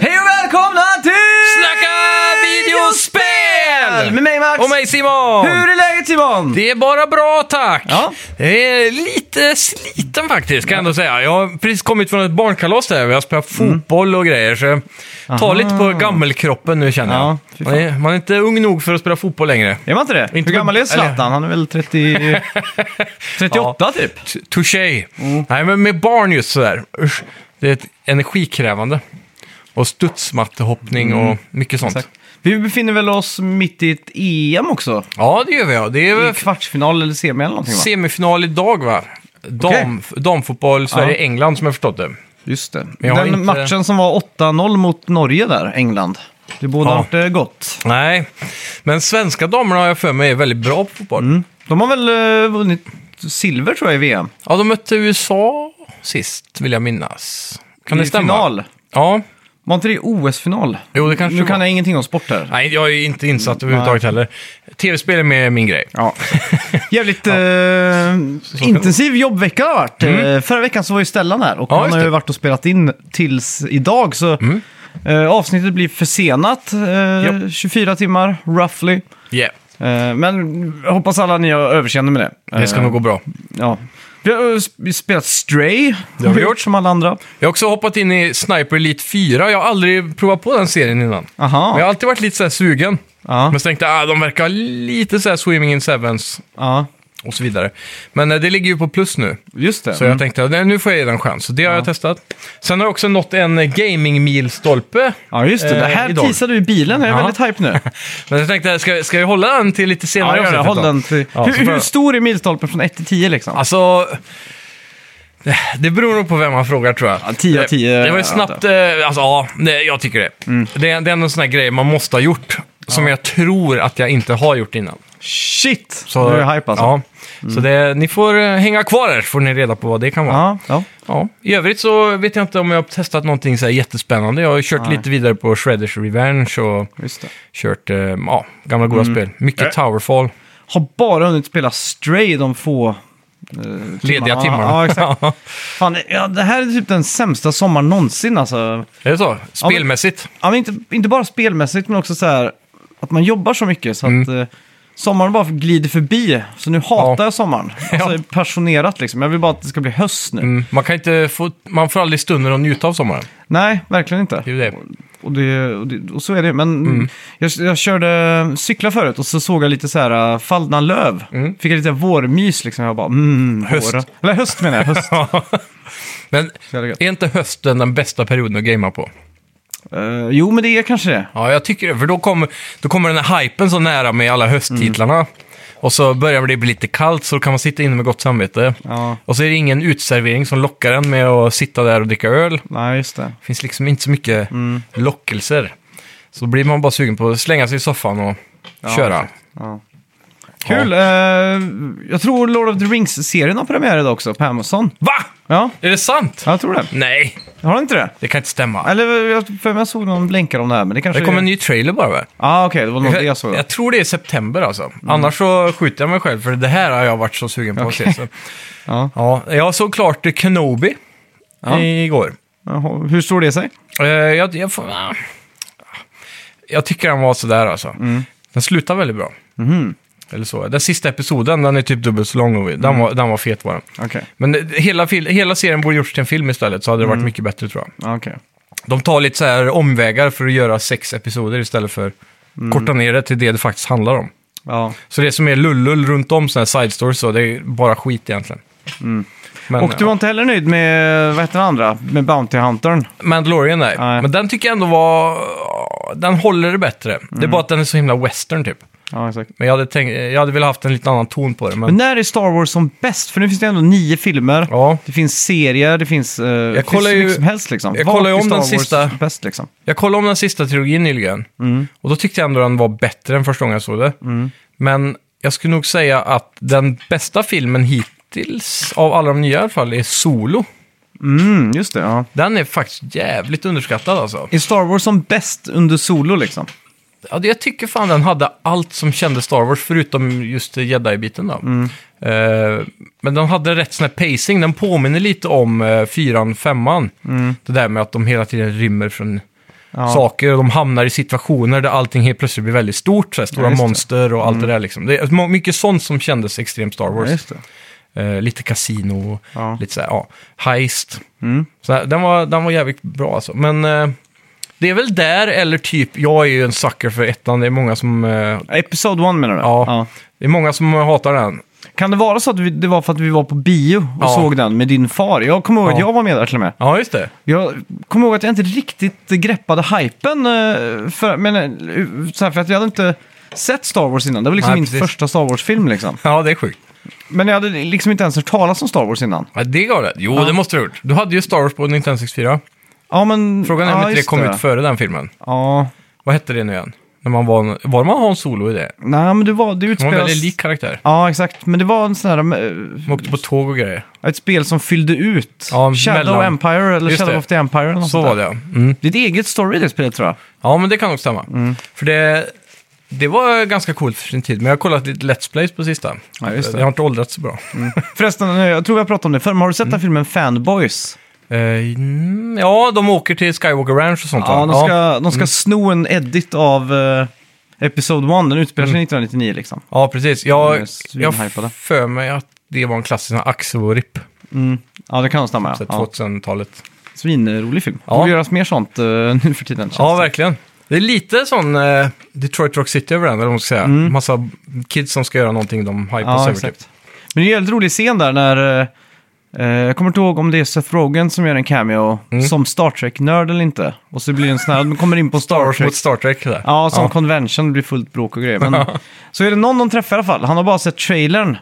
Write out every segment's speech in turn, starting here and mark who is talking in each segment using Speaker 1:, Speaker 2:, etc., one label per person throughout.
Speaker 1: Hej och välkomna till
Speaker 2: Snacka videospel!
Speaker 1: Med mig Max!
Speaker 2: Och mig Simon!
Speaker 1: Hur är läget Simon?
Speaker 2: Det är bara bra tack!
Speaker 1: Ja.
Speaker 2: Jag är lite sliten faktiskt kan jag ändå säga. Jag har precis kommit från ett barnkalas där vi har spelat
Speaker 1: Mm.
Speaker 2: fotboll och grejer. Så jag tar lite på gammelkroppen nu känner
Speaker 1: Ja,
Speaker 2: jag.
Speaker 1: fy fan.
Speaker 2: man, är, man är inte ung nog för att spela fotboll längre.
Speaker 1: Är man inte det?
Speaker 2: Inte
Speaker 1: Hur gammal är
Speaker 2: med-
Speaker 1: Zlatan? Han är väl 30... 38 typ?
Speaker 2: T- Touché!
Speaker 1: Mm.
Speaker 2: Nej men med barn just sådär. Usch. Det är ett energikrävande. Och studsmattehoppning och mycket sånt.
Speaker 1: Mm. Exakt. Vi befinner väl oss mitt i ett EM också?
Speaker 2: Ja det gör vi ja. Det är
Speaker 1: I
Speaker 2: väl
Speaker 1: kvartsfinal eller semi eller någonting va?
Speaker 2: semifinal idag va? Dam, Damfotboll Sverige-England som jag förstått det.
Speaker 1: Just det.
Speaker 2: jag har
Speaker 1: Den
Speaker 2: inte-
Speaker 1: matchen som var 8-0 mot Norge där, England. Det bådar
Speaker 2: Ja.
Speaker 1: inte gott.
Speaker 2: Nej, men svenska damerna har jag för mig är väldigt bra på fotboll.
Speaker 1: De har väl eh, vunnit silver tror jag i VM.
Speaker 2: Ja, de mötte USA sist vill jag minnas. Kan
Speaker 1: I
Speaker 2: det stämma?
Speaker 1: final.
Speaker 2: Ja.
Speaker 1: Var inte det OS-final?
Speaker 2: Jo, det kanske
Speaker 1: Nu
Speaker 2: det
Speaker 1: kan
Speaker 2: var.
Speaker 1: jag ingenting om sport här.
Speaker 2: Nej, jag är inte insatt överhuvudtaget heller. Tv-spel är mer min grej.
Speaker 1: Ja. Jävligt eh, intensiv jobbvecka har det varit. Eh, Förra veckan så var ju Stellan här och
Speaker 2: Mm. Ja,
Speaker 1: han
Speaker 2: just
Speaker 1: har ju
Speaker 2: det. Mm.
Speaker 1: varit och spelat in tills idag. Så eh, avsnittet blir försenat eh, 24 timmar roughly.
Speaker 2: Yeah.
Speaker 1: Eh, men jag hoppas alla ni har överseende med det.
Speaker 2: Det ska
Speaker 1: Eh,
Speaker 2: nog gå bra.
Speaker 1: Ja. Vi har eh, sp- spelat Stray, det
Speaker 2: har vi gjort.
Speaker 1: som alla andra.
Speaker 2: Jag har också hoppat in i Sniper Elite 4. Jag har aldrig provat på den serien innan.
Speaker 1: Aha.
Speaker 2: Men jag har alltid varit lite så här sugen.
Speaker 1: Ja.
Speaker 2: Men så tänkte jag, ah, de verkar lite så här Swimming in Sevens
Speaker 1: Ja,
Speaker 2: och så vidare. Men eh, det ligger ju på plus nu.
Speaker 1: just det.
Speaker 2: Så jag tänkte att nu får jag ge den en chans. Så det har jag testat. Sen har jag också nått en eh, gaming-milstolpe.
Speaker 1: ja, just det. Det
Speaker 2: eh,
Speaker 1: här
Speaker 2: idag.
Speaker 1: teasade du i bilen. Jag är
Speaker 2: Ja.
Speaker 1: väldigt hype nu.
Speaker 2: Men jag tänkte, ska, ska jag hålla den till lite senare?
Speaker 1: Ja, gör det.
Speaker 2: avsnitt
Speaker 1: Håll
Speaker 2: då?
Speaker 1: den till...
Speaker 2: Ja, så
Speaker 1: hur,
Speaker 2: får jag-
Speaker 1: hur stor är milstolpen från 1 till 10 liksom?
Speaker 2: Alltså, det- det beror nog på vem man frågar tror jag.
Speaker 1: Ja, 10 av 10,
Speaker 2: Det, det var ju
Speaker 1: ja, Mm.
Speaker 2: snabbt, eh, alltså ja, det, jag tycker det. det. Det är en sån här grej man måste ha gjort. Som jag tror att jag inte har gjort innan.
Speaker 1: Shit!
Speaker 2: Så,
Speaker 1: nu är jag hype alltså.
Speaker 2: Ja, så det, ni får eh, hänga kvar här så får ni reda på vad det kan vara.
Speaker 1: Ja, ja.
Speaker 2: Ja, i övrigt så vet jag inte om jag har testat någonting så här jättespännande. Jag har ju kört lite vidare på Shredders Revenge och
Speaker 1: just det.
Speaker 2: kört eh, ja, gamla goda
Speaker 1: Mm.
Speaker 2: spel. Mycket
Speaker 1: Eh.
Speaker 2: Towerfall,
Speaker 1: Har bara hunnit spela Stray de få... eh,
Speaker 2: lediga
Speaker 1: timmarna. Ja,
Speaker 2: timmar.
Speaker 1: exakt. Fan, ja, det här är typ den sämsta sommaren någonsin alltså.
Speaker 2: är det så? Spelmässigt?
Speaker 1: Ja, men inte, inte bara spelmässigt, men också så här att man jobbar så mycket så att eh, sommaren bara glider förbi. Så nu hatar
Speaker 2: Mm. Ja.
Speaker 1: jag sommaren. Alltså,
Speaker 2: Ja.
Speaker 1: Passionerat liksom. Jag vill bara att det ska bli höst nu.
Speaker 2: Mm, man, kan inte få, man får aldrig stunder att njuta av sommaren.
Speaker 1: Nej, verkligen inte.
Speaker 2: Det är ju det.
Speaker 1: Och, det, och, det, och så är det. Men
Speaker 2: Mm.
Speaker 1: jag, jag körde cykla förut och så såg jag lite så här äh, fallna löv. Fick jag lite vårmys liksom. Jag bara mm,
Speaker 2: Mm. Höst.
Speaker 1: våren. Eller höst menar jag. Höst.
Speaker 2: Men
Speaker 1: Så är det gött.
Speaker 2: är inte hösten den bästa perioden att gamea på?
Speaker 1: Eh, jo, men det är kanske det.
Speaker 2: Ja, jag tycker det. För då kommer, då kommer den här hypen så nära med alla hösttitlarna.
Speaker 1: Mm.
Speaker 2: Och så börjar det bli lite kallt så då kan man sitta inne med gott samvete.
Speaker 1: Ja.
Speaker 2: Och så är det ingen utservering som lockar en med att sitta där och dricka öl. Det
Speaker 1: Nej, just det.
Speaker 2: finns liksom inte så mycket
Speaker 1: Mm.
Speaker 2: lockelser. Så blir man bara sugen på att slänga sig i soffan och köra.
Speaker 1: Ja. Kul! eh, jag tror Lord of the Rings-serien har premiär idag också på Amazon.
Speaker 2: Va?
Speaker 1: Ja,
Speaker 2: Är det sant?
Speaker 1: jag tror det.
Speaker 2: Nej,
Speaker 1: Har den inte det?
Speaker 2: det kan inte stämma.
Speaker 1: Eller jag för mig jag såg någon blänkare om det här, men det kanske
Speaker 2: Det kom
Speaker 1: är-
Speaker 2: en ny trailer bara va?
Speaker 1: Ja, Mm. okej, det var nog det jag
Speaker 2: Jag,
Speaker 1: såg. då.
Speaker 2: jag tror det är september alltså. Annars så skjuter jag mig själv för det här har jag varit så sugen på att se. Så.
Speaker 1: Ja.
Speaker 2: Ja, jag såg klart eh, Kenobi
Speaker 1: Ja.
Speaker 2: igår.
Speaker 1: Jaha, Hur står det sig?
Speaker 2: Eh, Jag, jag, får, ah. jag tycker den var sådär alltså.
Speaker 1: Mm.
Speaker 2: Den slutar väldigt bra.
Speaker 1: Mhm.
Speaker 2: Eller så. Den sista episoden, den är typ dubbelt så lång. och Den,
Speaker 1: Mm.
Speaker 2: var, den var fet var den.
Speaker 1: Okej,
Speaker 2: Men eh, hela, fil- hela serien borde gjorts till en film istället, så hade det
Speaker 1: Mm.
Speaker 2: varit mycket bättre tror jag.
Speaker 1: ja, okej.
Speaker 2: De tar lite så här omvägar för att göra sex episoder istället för
Speaker 1: Mm.
Speaker 2: korta ner det till det det faktiskt handlar om.
Speaker 1: Ja.
Speaker 2: Så det som är lullull runt om sådana här side stories, så det är bara skit egentligen. Men,
Speaker 1: Mm. Och du var inte heller nöjd med, vad heter den andra, med Bounty Huntern?
Speaker 2: Mandalorian nej.
Speaker 1: Nej. Mm.
Speaker 2: Men den tycker jag ändå var... Den håller det bättre. Det är bara att den är så himla western typ.
Speaker 1: Ja, exakt.
Speaker 2: Men jag hade, tänkt, jag hade velat haft en lite annan ton på det. Men,
Speaker 1: Men när är Star Wars som bäst? För nu finns det ändå nio filmer.
Speaker 2: ja,
Speaker 1: Det finns serier, det finns... eh, det finns
Speaker 2: kollar
Speaker 1: hur
Speaker 2: ju-
Speaker 1: mycket som helst liksom.
Speaker 2: jag
Speaker 1: Vart
Speaker 2: kollar ju
Speaker 1: är
Speaker 2: om
Speaker 1: Star
Speaker 2: den
Speaker 1: Wars
Speaker 2: sista-
Speaker 1: bäst liksom?
Speaker 2: jag kollade om den sista trilogin nyligen. Och då tyckte jag ändå den var bättre än första gången jag såg det. Men jag skulle nog säga att den bästa filmen hittills, av alla de nya i alla fall, är Solo.
Speaker 1: Mm, just det. Ja.
Speaker 2: Den är faktiskt jävligt underskattad alltså.
Speaker 1: Är Star Wars som bäst under solo liksom?
Speaker 2: Ja, det- jag tycker fan den hade allt som kände Star Wars, förutom just eh, jedi-biten då. Eh, men den hade rätt sån här pacing, den påminner lite om eh, fyran, femman. Det där med att de hela tiden rymmer från
Speaker 1: Ja.
Speaker 2: saker och de hamnar i situationer där allting helt plötsligt blir väldigt stort. Så här, stora
Speaker 1: Ja, just det. Mm.
Speaker 2: monster och allt det där liksom. Det är må- mycket sånt som kändes extremt Star
Speaker 1: Ja,
Speaker 2: Wars.
Speaker 1: just det.
Speaker 2: Eh, lite kasino och
Speaker 1: Ja.
Speaker 2: lite så här, ja, heist.
Speaker 1: Mm.
Speaker 2: Så här, den, var, den var jävligt bra alltså. Men eh, det är väl där, eller typ, jag är ju en sucker för ettan. Det är många som, eh,
Speaker 1: Episode 1 menar du?
Speaker 2: Ja. det är många som hatar den.
Speaker 1: Kan det vara så att vi, det var för att vi var på bio och
Speaker 2: Ja.
Speaker 1: såg den med din far? Jag kommer ihåg att
Speaker 2: Ja.
Speaker 1: jag var med där till och med.
Speaker 2: Ja, just det.
Speaker 1: Jag kommer ihåg att jag inte riktigt greppade hypen. eh, För, men, eh, så här, för att jag hade inte sett Star Wars innan. Det var liksom
Speaker 2: Nej,
Speaker 1: min
Speaker 2: precis.
Speaker 1: första Star Wars-film liksom.
Speaker 2: Ja, det är sjukt.
Speaker 1: Men jag hade liksom inte ens hört talas om Star Wars innan.
Speaker 2: Ja, det är galet. Jo, det måste du ha gjort. Du hade ju Star Wars på Nintendo 64.
Speaker 1: Ja, men...
Speaker 2: Frågan är om
Speaker 1: ja,
Speaker 2: inte det
Speaker 1: just
Speaker 2: kom ut före den filmen.
Speaker 1: Ja.
Speaker 2: Vad hette det nu igen? När man var, en- var man Hans Solo i det?
Speaker 1: Nej, men det var... Det
Speaker 2: Hon var
Speaker 1: utspelas...
Speaker 2: en väldigt lik karaktär.
Speaker 1: Ja, exakt. Men det var en sån här... eh,
Speaker 2: De åkte på tåg och grejer.
Speaker 1: Ett spel som fyllde ut
Speaker 2: Ja,
Speaker 1: Shadow
Speaker 2: mellan-
Speaker 1: Empire eller
Speaker 2: Just
Speaker 1: Shadow
Speaker 2: det.
Speaker 1: of the Empire eller något
Speaker 2: Så
Speaker 1: sånt
Speaker 2: var
Speaker 1: där.
Speaker 2: det, ja. Mm.
Speaker 1: Det är ett eget story i det spelet tror jag.
Speaker 2: Ja, men det kan nog stämma.
Speaker 1: Mm.
Speaker 2: För det, det var ganska coolt för sin tid, men jag har kollat lite Let's Plays på sista.
Speaker 1: Ja, just det.
Speaker 2: har inte åldrats så bra.
Speaker 1: Förresten, eh, jag tror vi har pratat om det förr, men har du sett
Speaker 2: Mm.
Speaker 1: den filmen Fanboys?
Speaker 2: Eh, mm, ja, de åker till Skywalker Ranch och sånt
Speaker 1: Ja,
Speaker 2: va?
Speaker 1: de ska, de
Speaker 2: Mm.
Speaker 1: ska sno en edit av uh, Episode 1, den utspelar
Speaker 2: Mm.
Speaker 1: sig 1999 liksom.
Speaker 2: ja, precis. Jag,
Speaker 1: De är
Speaker 2: jag
Speaker 1: svinhypade.
Speaker 2: för mig att det var en klassisk sån här Axo-RIP,
Speaker 1: Ja, det kan nog stämma.
Speaker 2: så
Speaker 1: Ja.
Speaker 2: här
Speaker 1: Ja.
Speaker 2: 2000-talet.
Speaker 1: Svinrolig film.
Speaker 2: Ja.
Speaker 1: Det borde göras mer sånt eh, nu för tiden. känns
Speaker 2: Ja,
Speaker 1: det.
Speaker 2: verkligen. Det är lite sån eh, Detroit Rock City över den, eller vad man ska säga. Massa kids som ska göra någonting de hypas
Speaker 1: Mm. Ja,
Speaker 2: över. Typ.
Speaker 1: exakt. Men det är en jävligt rolig scen där när... eh, eh, jag kommer inte ihåg om det är Seth Rogen som gör en cameo
Speaker 2: Mm.
Speaker 1: som Star Trek-nörd eller inte. Och så blir det en sån här, de kommer in på
Speaker 2: Star
Speaker 1: Star
Speaker 2: Wars
Speaker 1: Trek.
Speaker 2: mot Star Trek. Där.
Speaker 1: Ja, som convention, det blir fullt bråk och grejer. Men, så är det någon de träffar i alla fall. Han har bara sett trailern.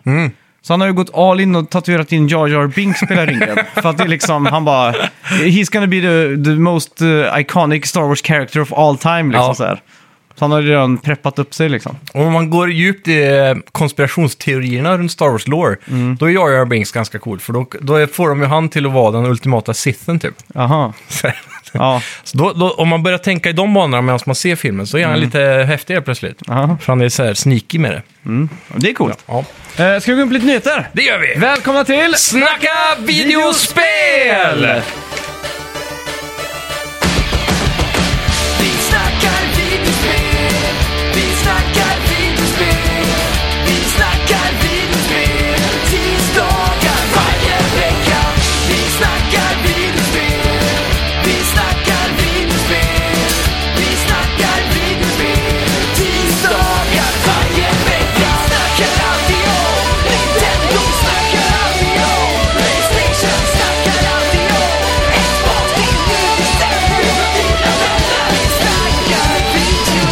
Speaker 1: Så han har ju gått all in och tatuerat in Jar Jar Binks på hela ringen. För att det är liksom, han bara... He's gonna be the, the most eh, iconic Star Wars character of all time. Liksom,
Speaker 2: Ja.
Speaker 1: så, här. så han har ju redan preppat upp sig liksom.
Speaker 2: Om man går djupt i eh, konspirationsteorierna runt Star Wars lore,
Speaker 1: Mm.
Speaker 2: då är Jar Jar Binks ganska cool, för då, då får de ju han till att vara den ultimata sithen typ.
Speaker 1: Jaha. Ja.
Speaker 2: Så då, då, om man börjar tänka i de banorna medan man ser filmen så är
Speaker 1: Mm.
Speaker 2: han lite häftig helt plötsligt.
Speaker 1: Aha.
Speaker 2: För han är så här sneaky med det.
Speaker 1: Det är coolt.
Speaker 2: Ja,
Speaker 1: Eh, ska vi gå in på lite nyheter?
Speaker 2: det gör vi!
Speaker 1: Välkomna till...
Speaker 2: Snacka videospel!
Speaker 3: Vi snackar videospel, vi snackar videospel, vi snackar videospel, tisdagar varje vecka. Vi snackar videospel, vi snackar videospel, vi snackar videospel, tisdagar varje vecka. Snackar alltid om Nintendo, snackar alltid om Playstation, snackar alltid om Xbox, det är nu vi sätter dina vänner. Vi snackar video.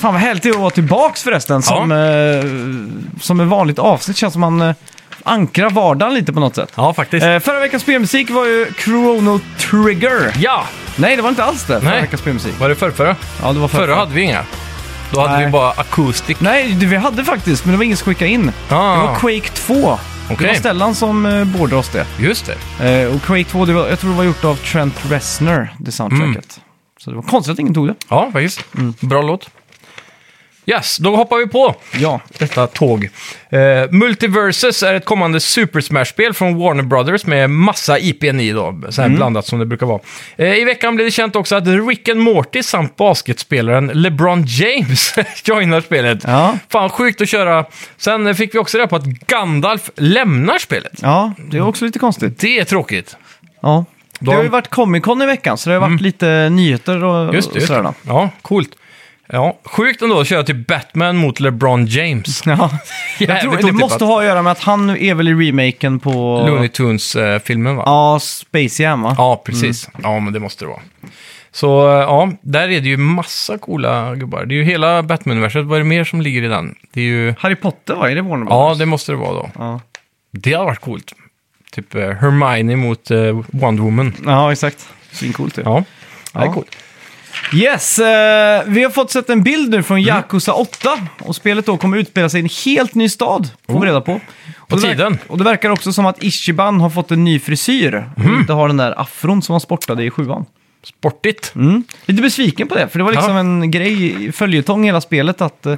Speaker 1: Fan vad härligt det är att vara tillbaks förresten. Som, eh, som ett vanligt avsnitt känns som man eh, ankrar vardagen lite på något sätt.
Speaker 2: Ja, faktiskt.
Speaker 1: Eh, förra veckans spelmusik var ju Chrono Trigger.
Speaker 2: Ja!
Speaker 1: Nej, det var inte alls det. Förra
Speaker 2: Nej.
Speaker 1: veckans spelmusik.
Speaker 2: Var det förrförra?
Speaker 1: Ja, det var
Speaker 2: Förra hade vi inga. Då hade
Speaker 1: Nej.
Speaker 2: vi bara akustik.
Speaker 1: Nej, det vi hade faktiskt, men det var ingen som skickade in.
Speaker 2: Ah.
Speaker 1: Det var Quake 2. Det
Speaker 2: Okej.
Speaker 1: var Stellan som eh, beordrade oss det.
Speaker 2: Just det.
Speaker 1: Eh, och Quake 2, det var, jag tror det var gjort av Trent Reznor, det soundtracket.
Speaker 2: Mm.
Speaker 1: Så det var konstigt att ingen tog det.
Speaker 2: Ja, faktiskt.
Speaker 1: Mm.
Speaker 2: Bra låt. Yes, då hoppar vi på.
Speaker 1: Ja.
Speaker 2: detta tåg. Eh, Multiversus är ett kommande Super Smash-spel från Warner Brothers med massa IPN i då, så här
Speaker 1: Mm.
Speaker 2: blandat som det brukar vara. Eh, I veckan blev det känt också att Rick and Morty samt basketspelaren LeBron James joinar spelet.
Speaker 1: Ja.
Speaker 2: Fan, sjukt att köra. Sen eh, fick vi också reda på att Gandalf lämnar spelet.
Speaker 1: ja, det är också lite konstigt.
Speaker 2: Det är tråkigt.
Speaker 1: Ja.
Speaker 2: Då- Mm.
Speaker 1: Det har ju varit Comic Con i veckan, så det har varit lite nyheter och,
Speaker 2: Just det.
Speaker 1: och
Speaker 2: Just
Speaker 1: sådär.
Speaker 2: det.
Speaker 1: då.
Speaker 2: Ja, coolt. Ja, sjukt ändå att köra till Batman mot LeBron James.
Speaker 1: Ja. Jag tror,
Speaker 2: Jävligt
Speaker 1: det
Speaker 2: otippat.
Speaker 1: måste ha att göra med att han är väl i remaken på
Speaker 2: Looney Tunes-filmen eh, va?
Speaker 1: ja, Mm. Space Jam va?
Speaker 2: Ja, precis. Ja, men det måste det vara. Så eh, ja, där är det ju massa coola gubbar. Det är ju hela Batman-universet. Vad är det mer som ligger i den? Det är ju...
Speaker 1: Harry Potter va? Är det Warner
Speaker 2: Ja,
Speaker 1: Brothers?
Speaker 2: det måste det vara då.
Speaker 1: Ja,
Speaker 2: Det hade varit coolt. Typ eh, Hermione mot eh, Wonder Woman.
Speaker 1: ja exakt. Svincoolt ju.
Speaker 2: Ja, det är
Speaker 1: Ja.
Speaker 2: coolt.
Speaker 1: Yes, eh, vi har fått sett en bild nu
Speaker 2: Mm.
Speaker 1: från Yakuza 8 och spelet då kommer utspela sig i en helt ny stad, får vi reda på. Och
Speaker 2: Oh. På
Speaker 1: det verk-
Speaker 2: tiden. Mm.
Speaker 1: Och det verkar också som att Ichiban har fått en ny frisyr och inte har den där afron som han sportade i sjuan.
Speaker 2: Sportigt.
Speaker 1: Mm. Lite besviken på det, för det var liksom
Speaker 2: Ja.
Speaker 1: en grej, i följetong i hela spelet, att, eh,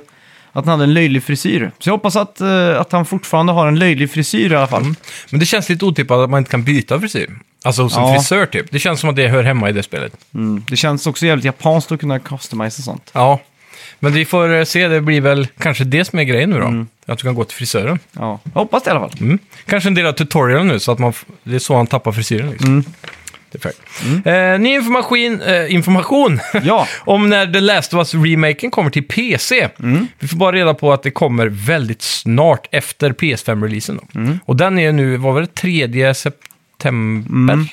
Speaker 1: att han hade en löjlig frisyr. Så jag hoppas att, eh, att han fortfarande har en löjlig frisyr i alla fall.
Speaker 2: Men det känns lite otippat att man inte kan byta frisyr. Alltså hos en
Speaker 1: Ja.
Speaker 2: frisör typ. Det känns som att det hör hemma i det spelet.
Speaker 1: Mm. Det känns också jävligt japanskt att kunna customisa sånt.
Speaker 2: Ja, men vi får eh, se. Det blir väl kanske det som är grejen nu då.
Speaker 1: Mm.
Speaker 2: Att du kan gå till frisören.
Speaker 1: Ja. Jag hoppas det i alla fall.
Speaker 2: Mm. Kanske en del av tutorialen nu, så att man f- det är så han tappar frisyren. Liksom.
Speaker 1: Mm.
Speaker 2: Det är färdigt. Eh, ny information, eh, information
Speaker 1: Ja.
Speaker 2: om när The Last of Us-remaken kommer till PC.
Speaker 1: Mm.
Speaker 2: Vi får bara reda på att det kommer väldigt snart efter PS5-releasen. då.
Speaker 1: Mm.
Speaker 2: Och den är nu, vad var det, 3 september?
Speaker 1: Mm.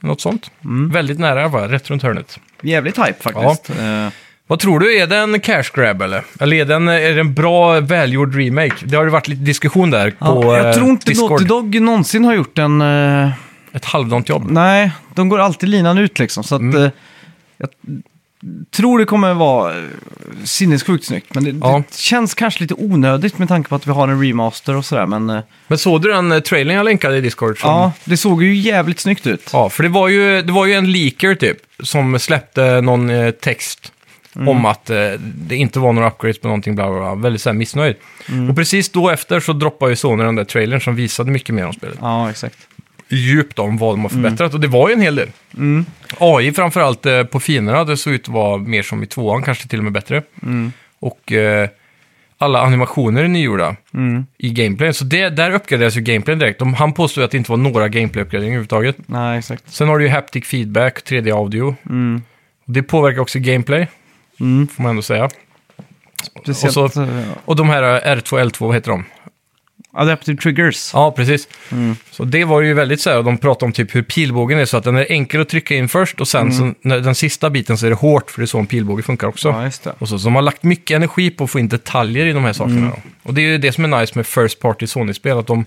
Speaker 2: Något sånt. Väldigt nära i alla fall, rätt runt hörnet.
Speaker 1: Jävligt hype faktiskt. Eh,
Speaker 2: Vad tror du, är det en cash grab eller? Eller är det en, är det en bra, välgjord remake? Det har ju varit lite diskussion där
Speaker 1: Ja,
Speaker 2: på eh,
Speaker 1: jag tror inte
Speaker 2: Discord.
Speaker 1: Naughty Dog någonsin har gjort en... eh,
Speaker 2: Ett halvdant jobb.
Speaker 1: nej, de går alltid linan ut liksom. Så att,
Speaker 2: Mm.
Speaker 1: eh, jag tror det kommer vara eh, sinnessjukt snyggt. Men det,
Speaker 2: Ja.
Speaker 1: det känns kanske lite onödigt med tanke på att vi har en remaster och sådär. Men eh,
Speaker 2: Men såg du den eh, trailern jag länkade i Discord? Som,
Speaker 1: ja, det såg ju jävligt snyggt ut.
Speaker 2: Ja, för det var, ju, det var ju en leaker typ, som släppte någon eh, text om att eh, det inte var några upgrades på någonting, bla bla bla. Väldigt så här, missnöjd. Och precis då efter så droppade ju Sony den där trailern som visade mycket mer om spelet.
Speaker 1: Ja, exakt.
Speaker 2: Djupt om vad de har förbättrat, och det var ju en hel del. AI framförallt eh, på fienderna, det såg ut att vara mer som i tvåan, kanske till och med bättre. Och eh, alla animationer är nygjorda i gameplay. Så det, där uppgraderas ju gameplay direkt. De, han påstod ju att det inte var några gameplay-uppgraderingar överhuvudtaget.
Speaker 1: Nej, exakt.
Speaker 2: Sen har du ju haptic feedback, 3D-audio.
Speaker 1: Mm.
Speaker 2: Det påverkar också gameplay,
Speaker 1: Mm.
Speaker 2: får man ändå säga.
Speaker 1: Speciellt...
Speaker 2: Och
Speaker 1: Och
Speaker 2: så- Och de här eh, R2, L2, vad heter de?
Speaker 1: Adaptive Triggers.
Speaker 2: Ja, precis.
Speaker 1: Mm.
Speaker 2: Så det var ju väldigt så här, de pratade om typ hur pilbågen är så att den är enkel att trycka in först och sen
Speaker 1: Mm.
Speaker 2: så, när den sista biten så är det hårt, för det är så en pilbåge funkar också.
Speaker 1: Ja, just det. Mm.
Speaker 2: Och så, så de har lagt mycket energi på att få in detaljer i de här sakerna. Då. Och det är ju det som är nice med First Party Sony-spel, att de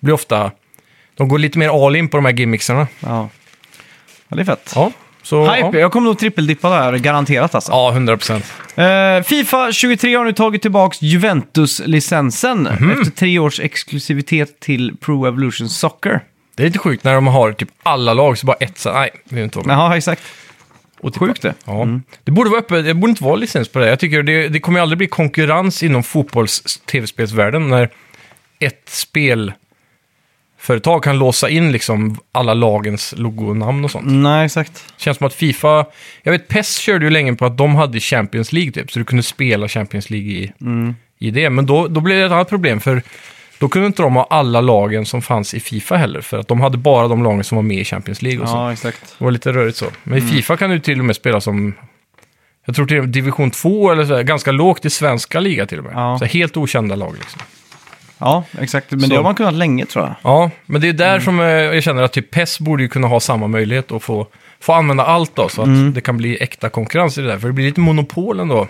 Speaker 2: blir ofta... De går lite mer all in på de här gimmicksarna.
Speaker 1: Ja. ja, det är fett.
Speaker 2: Ja, så...
Speaker 1: Hype,
Speaker 2: Ja,
Speaker 1: jag kommer nog trippeldippa där, garanterat alltså.
Speaker 2: ja 100%.
Speaker 1: Eh, Fifa 23 har nu tagit tillbaka Juventus-licensen
Speaker 2: Mhm.
Speaker 1: efter tre års exklusivitet till Pro Evolution Soccer.
Speaker 2: Det är lite sjukt när de har typ alla lag, så bara ett så nej, vi vill inte vara med. typ-
Speaker 1: Jaha, exakt.
Speaker 2: Otippat.
Speaker 1: Sjukt det.
Speaker 2: Ja. Mm. Det borde vara öppet, det borde inte vara licens på det. Jag tycker det, det kommer ju aldrig bli konkurrens inom fotbolls-tv-spelsvärlden när ett spelföretag kan låsa in liksom alla lagens logonamn och sånt.
Speaker 1: Nej, exakt.
Speaker 2: Känns som att Fifa... Jag vet, PES körde ju länge på att de hade Champions League typ, så du kunde spela Champions League i, i det. Men då, då blev det ett annat problem, för då kunde inte de ha alla lagen som fanns i Fifa heller, för att de hade bara de lagen som var med i Champions League och så.
Speaker 1: Ja, exakt.
Speaker 2: Det var lite rörigt så. Men i
Speaker 1: Mm.
Speaker 2: Fifa kan du till och med spela som... Jag tror till och med division 2 eller så här, ganska lågt i svenska liga till och med.
Speaker 1: Ja.
Speaker 2: Så här, helt okända lag liksom.
Speaker 1: Ja, exakt. Men
Speaker 2: Så.
Speaker 1: det har man kunnat länge tror jag.
Speaker 2: Ja, men det är
Speaker 1: Mm.
Speaker 2: där som eh, jag känner att typ PES borde ju kunna ha samma möjlighet att få, få använda allt då, så att
Speaker 1: Mm.
Speaker 2: det kan bli äkta konkurrens i det där. För det blir lite monopol ändå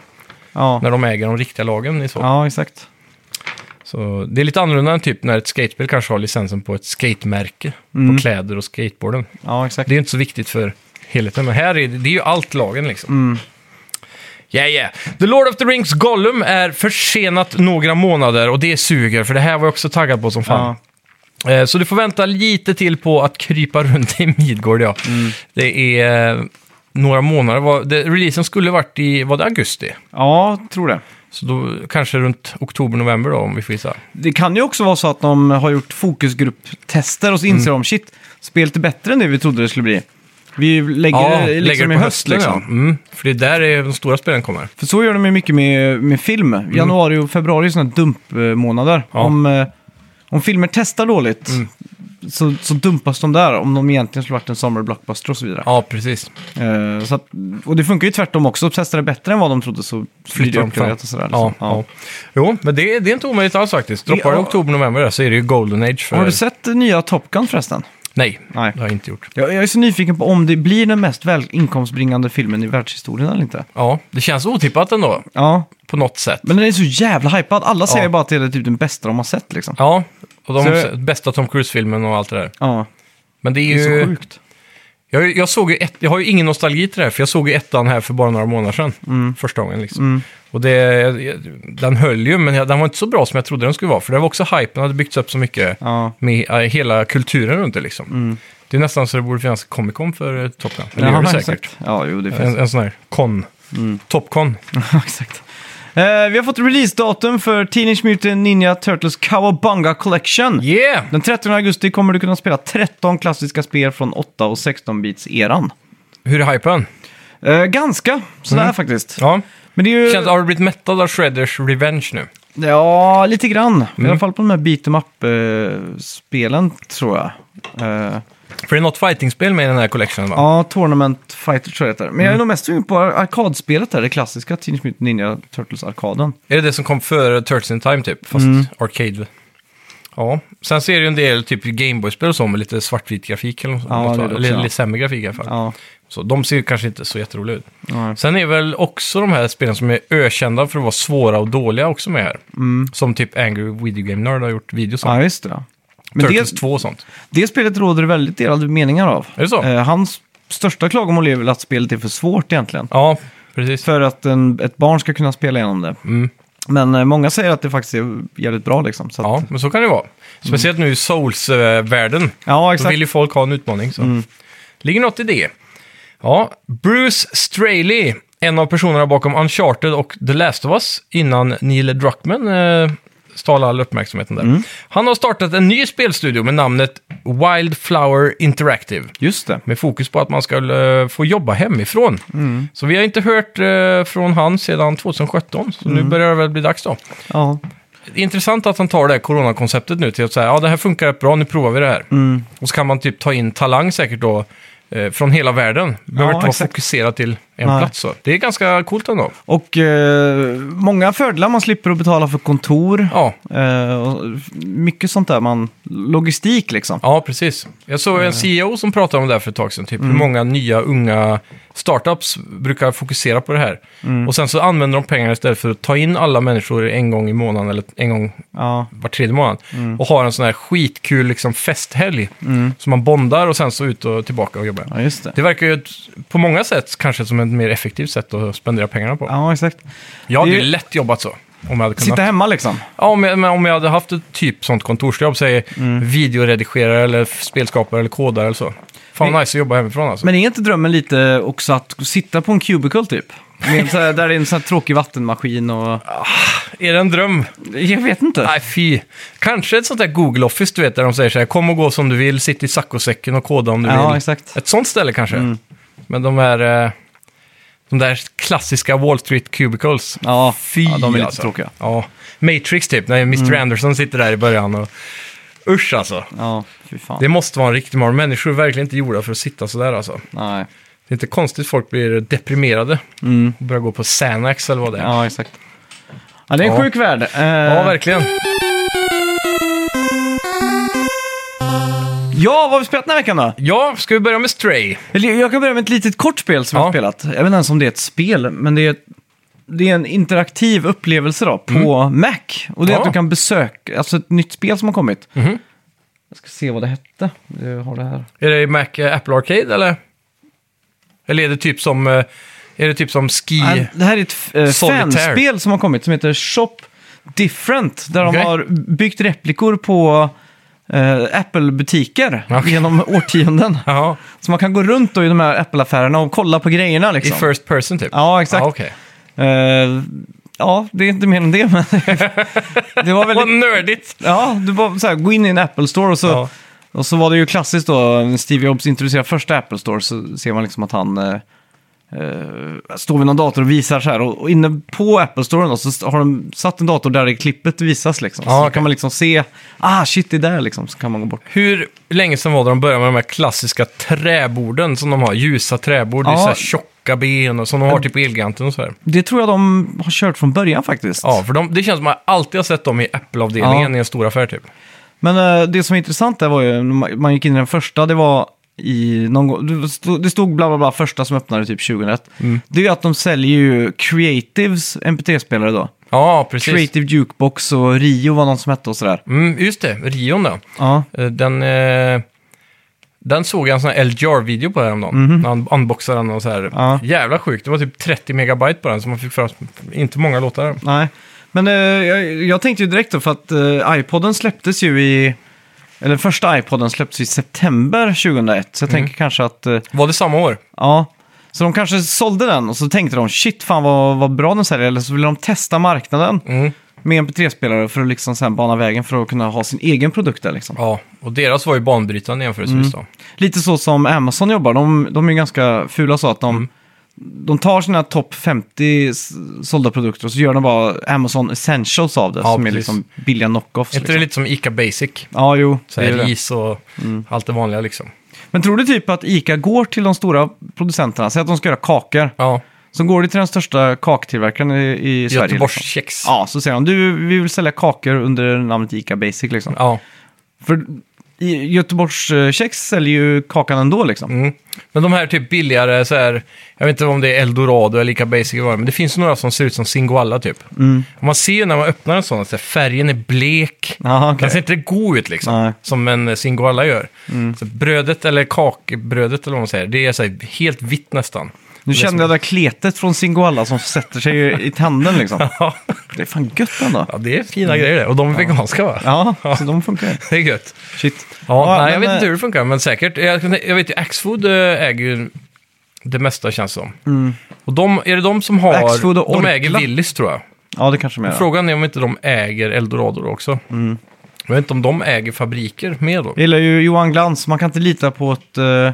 Speaker 1: Ja,
Speaker 2: när de äger de riktiga lagen i så.
Speaker 1: ja exakt.
Speaker 2: så. Det är lite annorlunda än typ när ett skatespel kanske har licensen på ett skatemärke,
Speaker 1: Mm.
Speaker 2: på kläder och skateboarden.
Speaker 1: Ja, exakt.
Speaker 2: Det är ju inte så viktigt för helheten, men här är det, det är ju allt lagen liksom.
Speaker 1: Mm.
Speaker 2: Yeah, yeah. The Lord of the Rings Gollum är försenat några månader och det suger, för det här var jag också taggad på som fan.
Speaker 1: Ja.
Speaker 2: Eh, Så du får vänta lite till på att krypa runt i Midgård, ja.
Speaker 1: Mm.
Speaker 2: Det är eh, några månader. Vad- det- Releasen skulle varit i, var det augusti?
Speaker 1: ja, tror det.
Speaker 2: Så då kanske runt oktober, november då, om vi får gissa.
Speaker 1: Det kan ju också vara så att de har gjort fokusgrupptester och så inser
Speaker 2: Mm.
Speaker 1: de shit, spelet är bättre än det vi trodde det skulle bli. Vi lägger det liksom i höst liksom.
Speaker 2: ja. Mm, för det är där är de stora spelen kommer.
Speaker 1: För så gör de ju mycket med, med film. Januari och februari är sådana dumpmånader.
Speaker 2: Mm. Ja. Mm.
Speaker 1: Om, eh, om filmer testar dåligt så, så dumpas de där om de egentligen skulle varit en sommarblockbuster och så vidare.
Speaker 2: Ja, precis.
Speaker 1: Eh, så att, och det funkar ju tvärtom också. Testar det bättre än vad de trodde så flyttar de
Speaker 2: fram.
Speaker 1: uppgraderat och sådär.
Speaker 2: Ja,
Speaker 1: Liksom.
Speaker 2: ja. Jo, men det, det är inte omöjligt alls faktiskt. Droppar det
Speaker 1: Ja.
Speaker 2: oktober, november där så är det ju Golden Age för...
Speaker 1: Har du sett eh, nya Top Gun förresten?
Speaker 2: Nej,
Speaker 1: Nej.
Speaker 2: det har jag inte gjort.
Speaker 1: Jag, jag är så nyfiken på om det blir den mest väl inkomstbringande filmen i världshistorien eller inte.
Speaker 2: Ja, det känns otippat ändå,
Speaker 1: Ja,
Speaker 2: på något sätt.
Speaker 1: men den är så jävla hypad. Alla säger
Speaker 2: Ja.
Speaker 1: bara att det är typ den bästa de har sett liksom.
Speaker 2: Ja, och de
Speaker 1: Så-
Speaker 2: har sett bästa Tom Cruise-filmen och allt det där.
Speaker 1: Ja,
Speaker 2: Men det är
Speaker 1: det är så
Speaker 2: ju...
Speaker 1: sjukt.
Speaker 2: Jag, jag, såg ju ett, jag har ju ingen nostalgi till det här, för jag såg ju ettan här för bara några månader sedan. Första gången liksom.
Speaker 1: Mm.
Speaker 2: Och det, jag- den höll ju, men jag, den var inte så bra som jag trodde den skulle vara. För det var också hypen hade byggts upp så mycket
Speaker 1: Ja. Mm.
Speaker 2: med eh, hela kulturen runt det liksom. Det är nästan så det borde finnas Comic Con för eh, Top Gun. Men det
Speaker 1: Ja,
Speaker 2: gör det säkert.
Speaker 1: exakt. Mm. Ja, jo, det finns.
Speaker 2: En, en sån här con. Top Con.
Speaker 1: Eh, Ja, exakt. Eh, vi har fått releasedatum för Teenage Mutant Ninja Turtles Cowabunga Collection.
Speaker 2: Yeah!
Speaker 1: Den 13 augusti kommer du kunna spela 13 klassiska spel från 8 och 16-bits-eran.
Speaker 2: Hur är hypen?
Speaker 1: Eh, ganska sådär faktiskt.
Speaker 2: Ja.
Speaker 1: Men det är ju...
Speaker 2: Känns, har du blivit mättad av Shredders Revenge nu?
Speaker 1: Ja, lite grann. I alla fall på de här beat em up-spelen, tror jag. Eh,
Speaker 2: För det är något fightingspel med i den här collectionen va?
Speaker 1: ja, Tournament Fighter tror jag det heter. Men jag är nog mest sugen på arkadspelet där, det klassiska Teenage Mutant Ninja Turtles-arkaden.
Speaker 2: Är det det som kom före Turtles in Time typ? Fast
Speaker 1: Mm.
Speaker 2: arcade. Ja. Sen ser det ju en del typ Gameboy-spel och så med lite svartvit grafik eller något,
Speaker 1: Ja,
Speaker 2: något
Speaker 1: det är
Speaker 2: va?
Speaker 1: det också,
Speaker 2: Eller
Speaker 1: ja.
Speaker 2: lite sämre grafik i alla fall.
Speaker 1: Ja. Mm.
Speaker 2: Så de ser ju kanske inte så jätteroliga ut.
Speaker 1: Nej.
Speaker 2: Sen är väl också de här spelen som är ökända för att vara svåra och dåliga också med här. Som typ Angry Video Game Nerd har gjort videos om.
Speaker 1: Mm. ja, just det. Men
Speaker 2: Turtles
Speaker 1: det,
Speaker 2: 2 och sånt.
Speaker 1: det spelet råder det väldigt delade meningar av.
Speaker 2: Är det så?
Speaker 1: Eh, hans största klagomål är väl att spelet är för svårt egentligen.
Speaker 2: Ja, precis.
Speaker 1: För att en, ett barn ska kunna spela igenom det.
Speaker 2: Mm.
Speaker 1: Men eh, många säger att det faktiskt är jävligt bra liksom. Så att,
Speaker 2: Ja, men så kan det vara. Speciellt nu i Souls-världen.
Speaker 1: ja,
Speaker 2: Då
Speaker 1: exakt. Mm.
Speaker 2: vill ju folk ha en utmaning. Så. Ligger något i det? Ja, Bruce Straley, en av personerna bakom Uncharted och The Last of Us, innan Neil Druckmann eh, stal all uppmärksamheten där.
Speaker 1: Mm.
Speaker 2: Han har startat en ny spelstudio med namnet Wildflower Interactive.
Speaker 1: Just det.
Speaker 2: Med fokus på att man ska eh, få jobba hemifrån.
Speaker 1: Mm.
Speaker 2: Så vi har inte hört eh, från han sedan 2017, så
Speaker 1: Mm.
Speaker 2: nu börjar det väl bli dags då.
Speaker 1: Ja.
Speaker 2: Det är intressant att han tar det här coronakonceptet nu till att säga ja det här funkar rätt bra, nu provar vi det här.
Speaker 1: Mm.
Speaker 2: Och så kan man typ ta in talang säkert då eh, från hela världen. Behöver
Speaker 1: Ja,
Speaker 2: inte vara
Speaker 1: exakt.
Speaker 2: fokuserad till en
Speaker 1: Nej.
Speaker 2: plats. Så. Det är ganska coolt ändå.
Speaker 1: Och eh, många fördelar, man slipper att betala för kontor.
Speaker 2: Ja,
Speaker 1: Eh, och f- mycket sånt där, man, logistik liksom.
Speaker 2: ja precis. Jag såg en CEO som pratade om det här för ett tag sedan. Typ
Speaker 1: Mm.
Speaker 2: hur många nya unga startups brukar fokusera på det här.
Speaker 1: Mm.
Speaker 2: Och sen så använder de pengarna istället för att ta in alla människor en gång i månaden eller en gång
Speaker 1: Ja,
Speaker 2: var tredje månad.
Speaker 1: Mm.
Speaker 2: Och har en sån här skitkul liksom, festhelg. Så man bondar och sen så ut och tillbaka och jobbar.
Speaker 1: ja just det.
Speaker 2: Det verkar ju ett- på många sätt kanske som ett mer effektivt sätt att spendera pengarna på.
Speaker 1: Ja, exakt.
Speaker 2: jag hade
Speaker 1: det-
Speaker 2: ju lätt jobbat så. Om jag hade kunnat.
Speaker 1: Sitta hemma liksom.
Speaker 2: Ja, om jag, men om jag hade haft ett typ sånt kontorsjobb, säg
Speaker 1: Mm.
Speaker 2: videoredigerare eller f- spelskapare eller kodare eller så. Fan vad nice att jobba hemifrån alltså.
Speaker 1: Men är inte drömmen lite också att sitta på en cubicle typ? Med en så här, där det är en sån här tråkig vattenmaskin och...
Speaker 2: är det en dröm?
Speaker 1: Jag vet inte.
Speaker 2: Nej, fy. Kanske ett sånt där Google Office, du vet, där de säger så här, kom och gå som du vill, sitt i saccosäcken och koda om du
Speaker 1: Ja,
Speaker 2: vill.
Speaker 1: exakt. Mm.
Speaker 2: Ett sånt ställe kanske. Men de här, eh, de där klassiska Wall Street Cubicles.
Speaker 1: Ja,
Speaker 2: fy
Speaker 1: ja, de är lite
Speaker 2: alltså.
Speaker 1: tråkiga.
Speaker 2: Ja, Matrix typ, när Mr.
Speaker 1: Mm.
Speaker 2: Anderson sitter där i början och... Usch alltså.
Speaker 1: Ja, fy fan.
Speaker 2: Det måste vara en riktig morgon. Människor är verkligen inte gjorda för att sitta sådär alltså.
Speaker 1: Nej.
Speaker 2: Det är inte konstigt folk blir deprimerade. Och börjar gå på Xanax eller vad det är.
Speaker 1: Mm. Ja, exakt. Ja, det är en
Speaker 2: Ja.
Speaker 1: sjuk värld. Eh,
Speaker 2: ja verkligen.
Speaker 1: ja, vad har vi spelat den här veckan då?
Speaker 2: Ja, ska vi börja med Stray?
Speaker 1: Eller Jag kan börja med ett litet kort spel som jag
Speaker 2: Ja.
Speaker 1: har spelat. Jag vet inte ens om det är ett spel, men det är, det är en interaktiv upplevelse då, på Mac. Och det är
Speaker 2: Mm. Ja. Mhm.
Speaker 1: att du kan besöka, alltså ett nytt spel som har kommit. Jag ska se vad det hette. Jag har det här.
Speaker 2: Är det Mac eh, Apple Arcade eller? Eller är det typ som, eh, är det typ som Ski?
Speaker 1: Nej, Det här är ett f- eh,
Speaker 2: Solitaire.
Speaker 1: fanspel som har kommit som heter Shop Different. Där
Speaker 2: Okej.
Speaker 1: de har byggt replikor på eh, Apple-butiker
Speaker 2: Okej.
Speaker 1: genom årtionden.
Speaker 2: Jaha,
Speaker 1: Så man kan gå runt då i de här Apple-affärerna och kolla på grejerna
Speaker 2: i
Speaker 1: liksom.
Speaker 2: First Person typ?
Speaker 1: Ja, exakt.
Speaker 2: Ah, okej.
Speaker 1: Eh, ja, det är inte mer än det, men det var
Speaker 2: Vad
Speaker 1: väldigt...
Speaker 2: nördigt!
Speaker 1: Ja, du bara så här, gå in i en Apple Store och så,
Speaker 2: Ja.
Speaker 1: och så var det ju klassiskt då, när Steve Jobs introducerar första Apple Store så ser man liksom att han eh, eh, står vid någon dator och visar så här. Och, och inne på Apple Store då, så st- har de satt en dator där i klippet visas liksom. så
Speaker 2: Ja,
Speaker 1: då
Speaker 2: okej.
Speaker 1: kan man liksom se, ah shit det är där liksom, så kan man gå bort.
Speaker 2: Hur länge sedan var det de började med de här klassiska träborden som de har? Ljusa träbord, det är
Speaker 1: Ja.
Speaker 2: så här tjocka ben och som de har typ på Elgiganten och så här.
Speaker 1: Det tror jag de har kört från början faktiskt.
Speaker 2: Ja, för de, det känns som att man alltid har sett dem i Apple-avdelningen
Speaker 1: Ja.
Speaker 2: i en stor affär typ.
Speaker 1: Men eh, det som är intressant där var ju, när man- man gick in i den första, det var i någon gång, det stod, det stod bla bla bla, första som öppnade typ 2001. Det är ju att de säljer ju Creatives MP3-spelare då.
Speaker 2: Ja, precis.
Speaker 1: Creative Jukebox och Rio var någon som hette och sådär.
Speaker 2: Mm, just det, Rion då.
Speaker 1: Ja,
Speaker 2: Eh, Den, eh, den såg jag en sån här LGR-video på häromdagen. När han unboxade den och så här.
Speaker 1: Mhm. Ja.
Speaker 2: Jävla sjukt, det var typ 30 megabyte på den så man fick fram inte många låtar.
Speaker 1: nej. Men eh, jag, jag tänkte ju direkt då för att eh, iPoden släpptes ju i, eller första iPoden släpptes i september 2001. Så jag tänker kanske att, eh,
Speaker 2: Var det samma år?
Speaker 1: ja. Så de kanske sålde den och så tänkte de shit fan vad, vad bra den säljer. Eller så ville de testa marknaden.
Speaker 2: Mm.
Speaker 1: med MP3-spelare för att liksom sen bana vägen för att kunna ha sin egen produkt där liksom.
Speaker 2: Ja, och deras var ju banbrytande
Speaker 1: Mm.
Speaker 2: jämförelsevis då.
Speaker 1: Lite så som Amazon jobbar, de, de är ju ganska fula så att de,
Speaker 2: Mm.
Speaker 1: de tar sina topp 50 s- sålda produkter och så gör de bara Amazon Essentials av det
Speaker 2: Ja,
Speaker 1: som är
Speaker 2: precis.
Speaker 1: liksom billiga knockoffs.
Speaker 2: Är inte
Speaker 1: Liksom.
Speaker 2: det lite som Ica Basic?
Speaker 1: Ja, jo.
Speaker 2: Så
Speaker 1: Det Mm.
Speaker 2: här
Speaker 1: är det.
Speaker 2: ris och allt det vanliga liksom.
Speaker 1: Men tror du typ att ICA går till de stora producenterna, säg att de ska göra kakor,
Speaker 2: Ja,
Speaker 1: så går det till den största kaktillverkaren i, i Sverige. Liksom.
Speaker 2: Göteborgskex.
Speaker 1: Ja, så säger de, du, vi vill sälja kakor under namnet ICA Basic liksom.
Speaker 2: ja.
Speaker 1: För i- Göteborgs eh, kex säljer ju kakan ändå liksom.
Speaker 2: Mm. Men de här typ billigare så här, jag vet inte om det är Eldorado eller Ica Basic, eller vad det är, men det finns några som ser ut som Singoalla typ.
Speaker 1: Mm.
Speaker 2: Och man ser ju när man öppnar en sån att så här, färgen är blek.
Speaker 1: Jaha, okej.
Speaker 2: Den ser inte god ut liksom,
Speaker 1: Nej. Mm.
Speaker 2: som en eh, Singoalla gör. Så brödet eller kakbrödet eller vad man säger, det är så här, helt vitt nästan.
Speaker 1: Nu kände jag det där kletet från Singoalla som sätter sig i tanden liksom.
Speaker 2: Ja,
Speaker 1: Det är fan gött ändå.
Speaker 2: ja det är fina grejer det. Och de är veganska va?
Speaker 1: Mm. Ja, så de funkar ju.
Speaker 2: Det är gött.
Speaker 1: Shit.
Speaker 2: Ja,
Speaker 1: Ja,
Speaker 2: nej,
Speaker 1: men,
Speaker 2: jag vet inte
Speaker 1: eh,
Speaker 2: hur det funkar, men säkert. Jag, jag vet ju, Axfood eh, äger ju det mesta känns som. Och de, är det de som har...
Speaker 1: Mm. Axfood och
Speaker 2: de
Speaker 1: Orkla.
Speaker 2: äger Willys tror jag.
Speaker 1: Ja, Mm. det kanske de gör.
Speaker 2: Frågan är om inte de äger Eldorado då också. Jag vet inte om de äger fabriker med då.
Speaker 1: Jag gillar ju Johan Glans. Man kan inte lita på ett eh,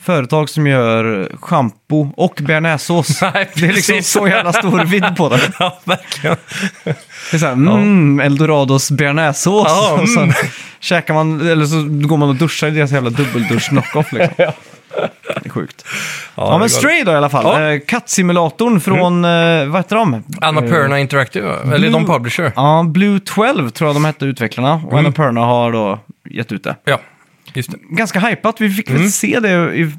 Speaker 1: företag som gör schampo och bearnaisesås.
Speaker 2: Nej,
Speaker 1: Det är liksom
Speaker 2: precis.
Speaker 1: så jävla stor vidd på det.
Speaker 2: Ja, verkligen.
Speaker 1: Det är såhär, mm, Eldorados bearnaisesås.
Speaker 2: Ja,
Speaker 1: och sen
Speaker 2: mm.
Speaker 1: käkar man, eller så går man och duschar i deras jävla dubbeldusch knockoff liksom. Det är sjukt. Ja,
Speaker 2: det är
Speaker 1: men
Speaker 2: galet.
Speaker 1: Stray då i alla fall.
Speaker 2: Ja. Mm.
Speaker 1: Eh, Kattsimulatorn från, eh, vad heter de?
Speaker 2: Annapurna Interactive, va? eller de
Speaker 1: Blue-
Speaker 2: publisher.
Speaker 1: Ja, Blue 12 tror jag de hette utvecklarna. Och
Speaker 2: Mm.
Speaker 1: Annapurna har då gett ut det.
Speaker 2: Ja, just det.
Speaker 1: Ganska hypat, vi fick
Speaker 2: Mm.
Speaker 1: väl se det i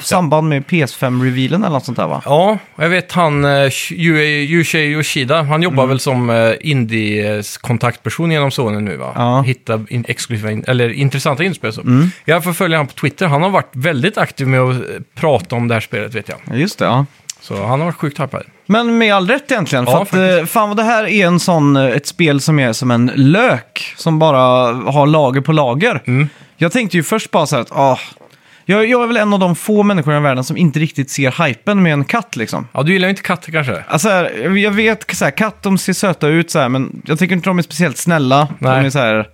Speaker 1: samband med PS5-revealen eller något sånt där va?
Speaker 2: Ja, jag vet han eh, Yu- Yushei Yoshida, han jobbar väl som eh, indie-kontaktperson genom Sony nu va?
Speaker 1: Ja.
Speaker 2: Hitta in, exklusiva, in, eller intressanta inspel så. Jag får följa honom på Twitter, han har varit väldigt aktiv med att eh, prata om det här spelet vet jag.
Speaker 1: Ja, Just det, ja.
Speaker 2: Så han har varit sjukt hypad.
Speaker 1: Men med all rätt egentligen.
Speaker 2: Ja,
Speaker 1: för att, eh, fan vad det här är en sån, eh, ett spel som är som en lök. Som bara har lager på lager. Jag tänkte ju först bara så här att, ah, jag, jag är väl en av de få människorna i världen som inte riktigt ser hypen med en katt liksom.
Speaker 2: Ja, du gillar ju inte katter kanske?
Speaker 1: Alltså här, jag- jag vet, så här, katt de ser söta ut så här, men jag tycker inte de är speciellt snälla.
Speaker 2: Nej.
Speaker 1: De är så här,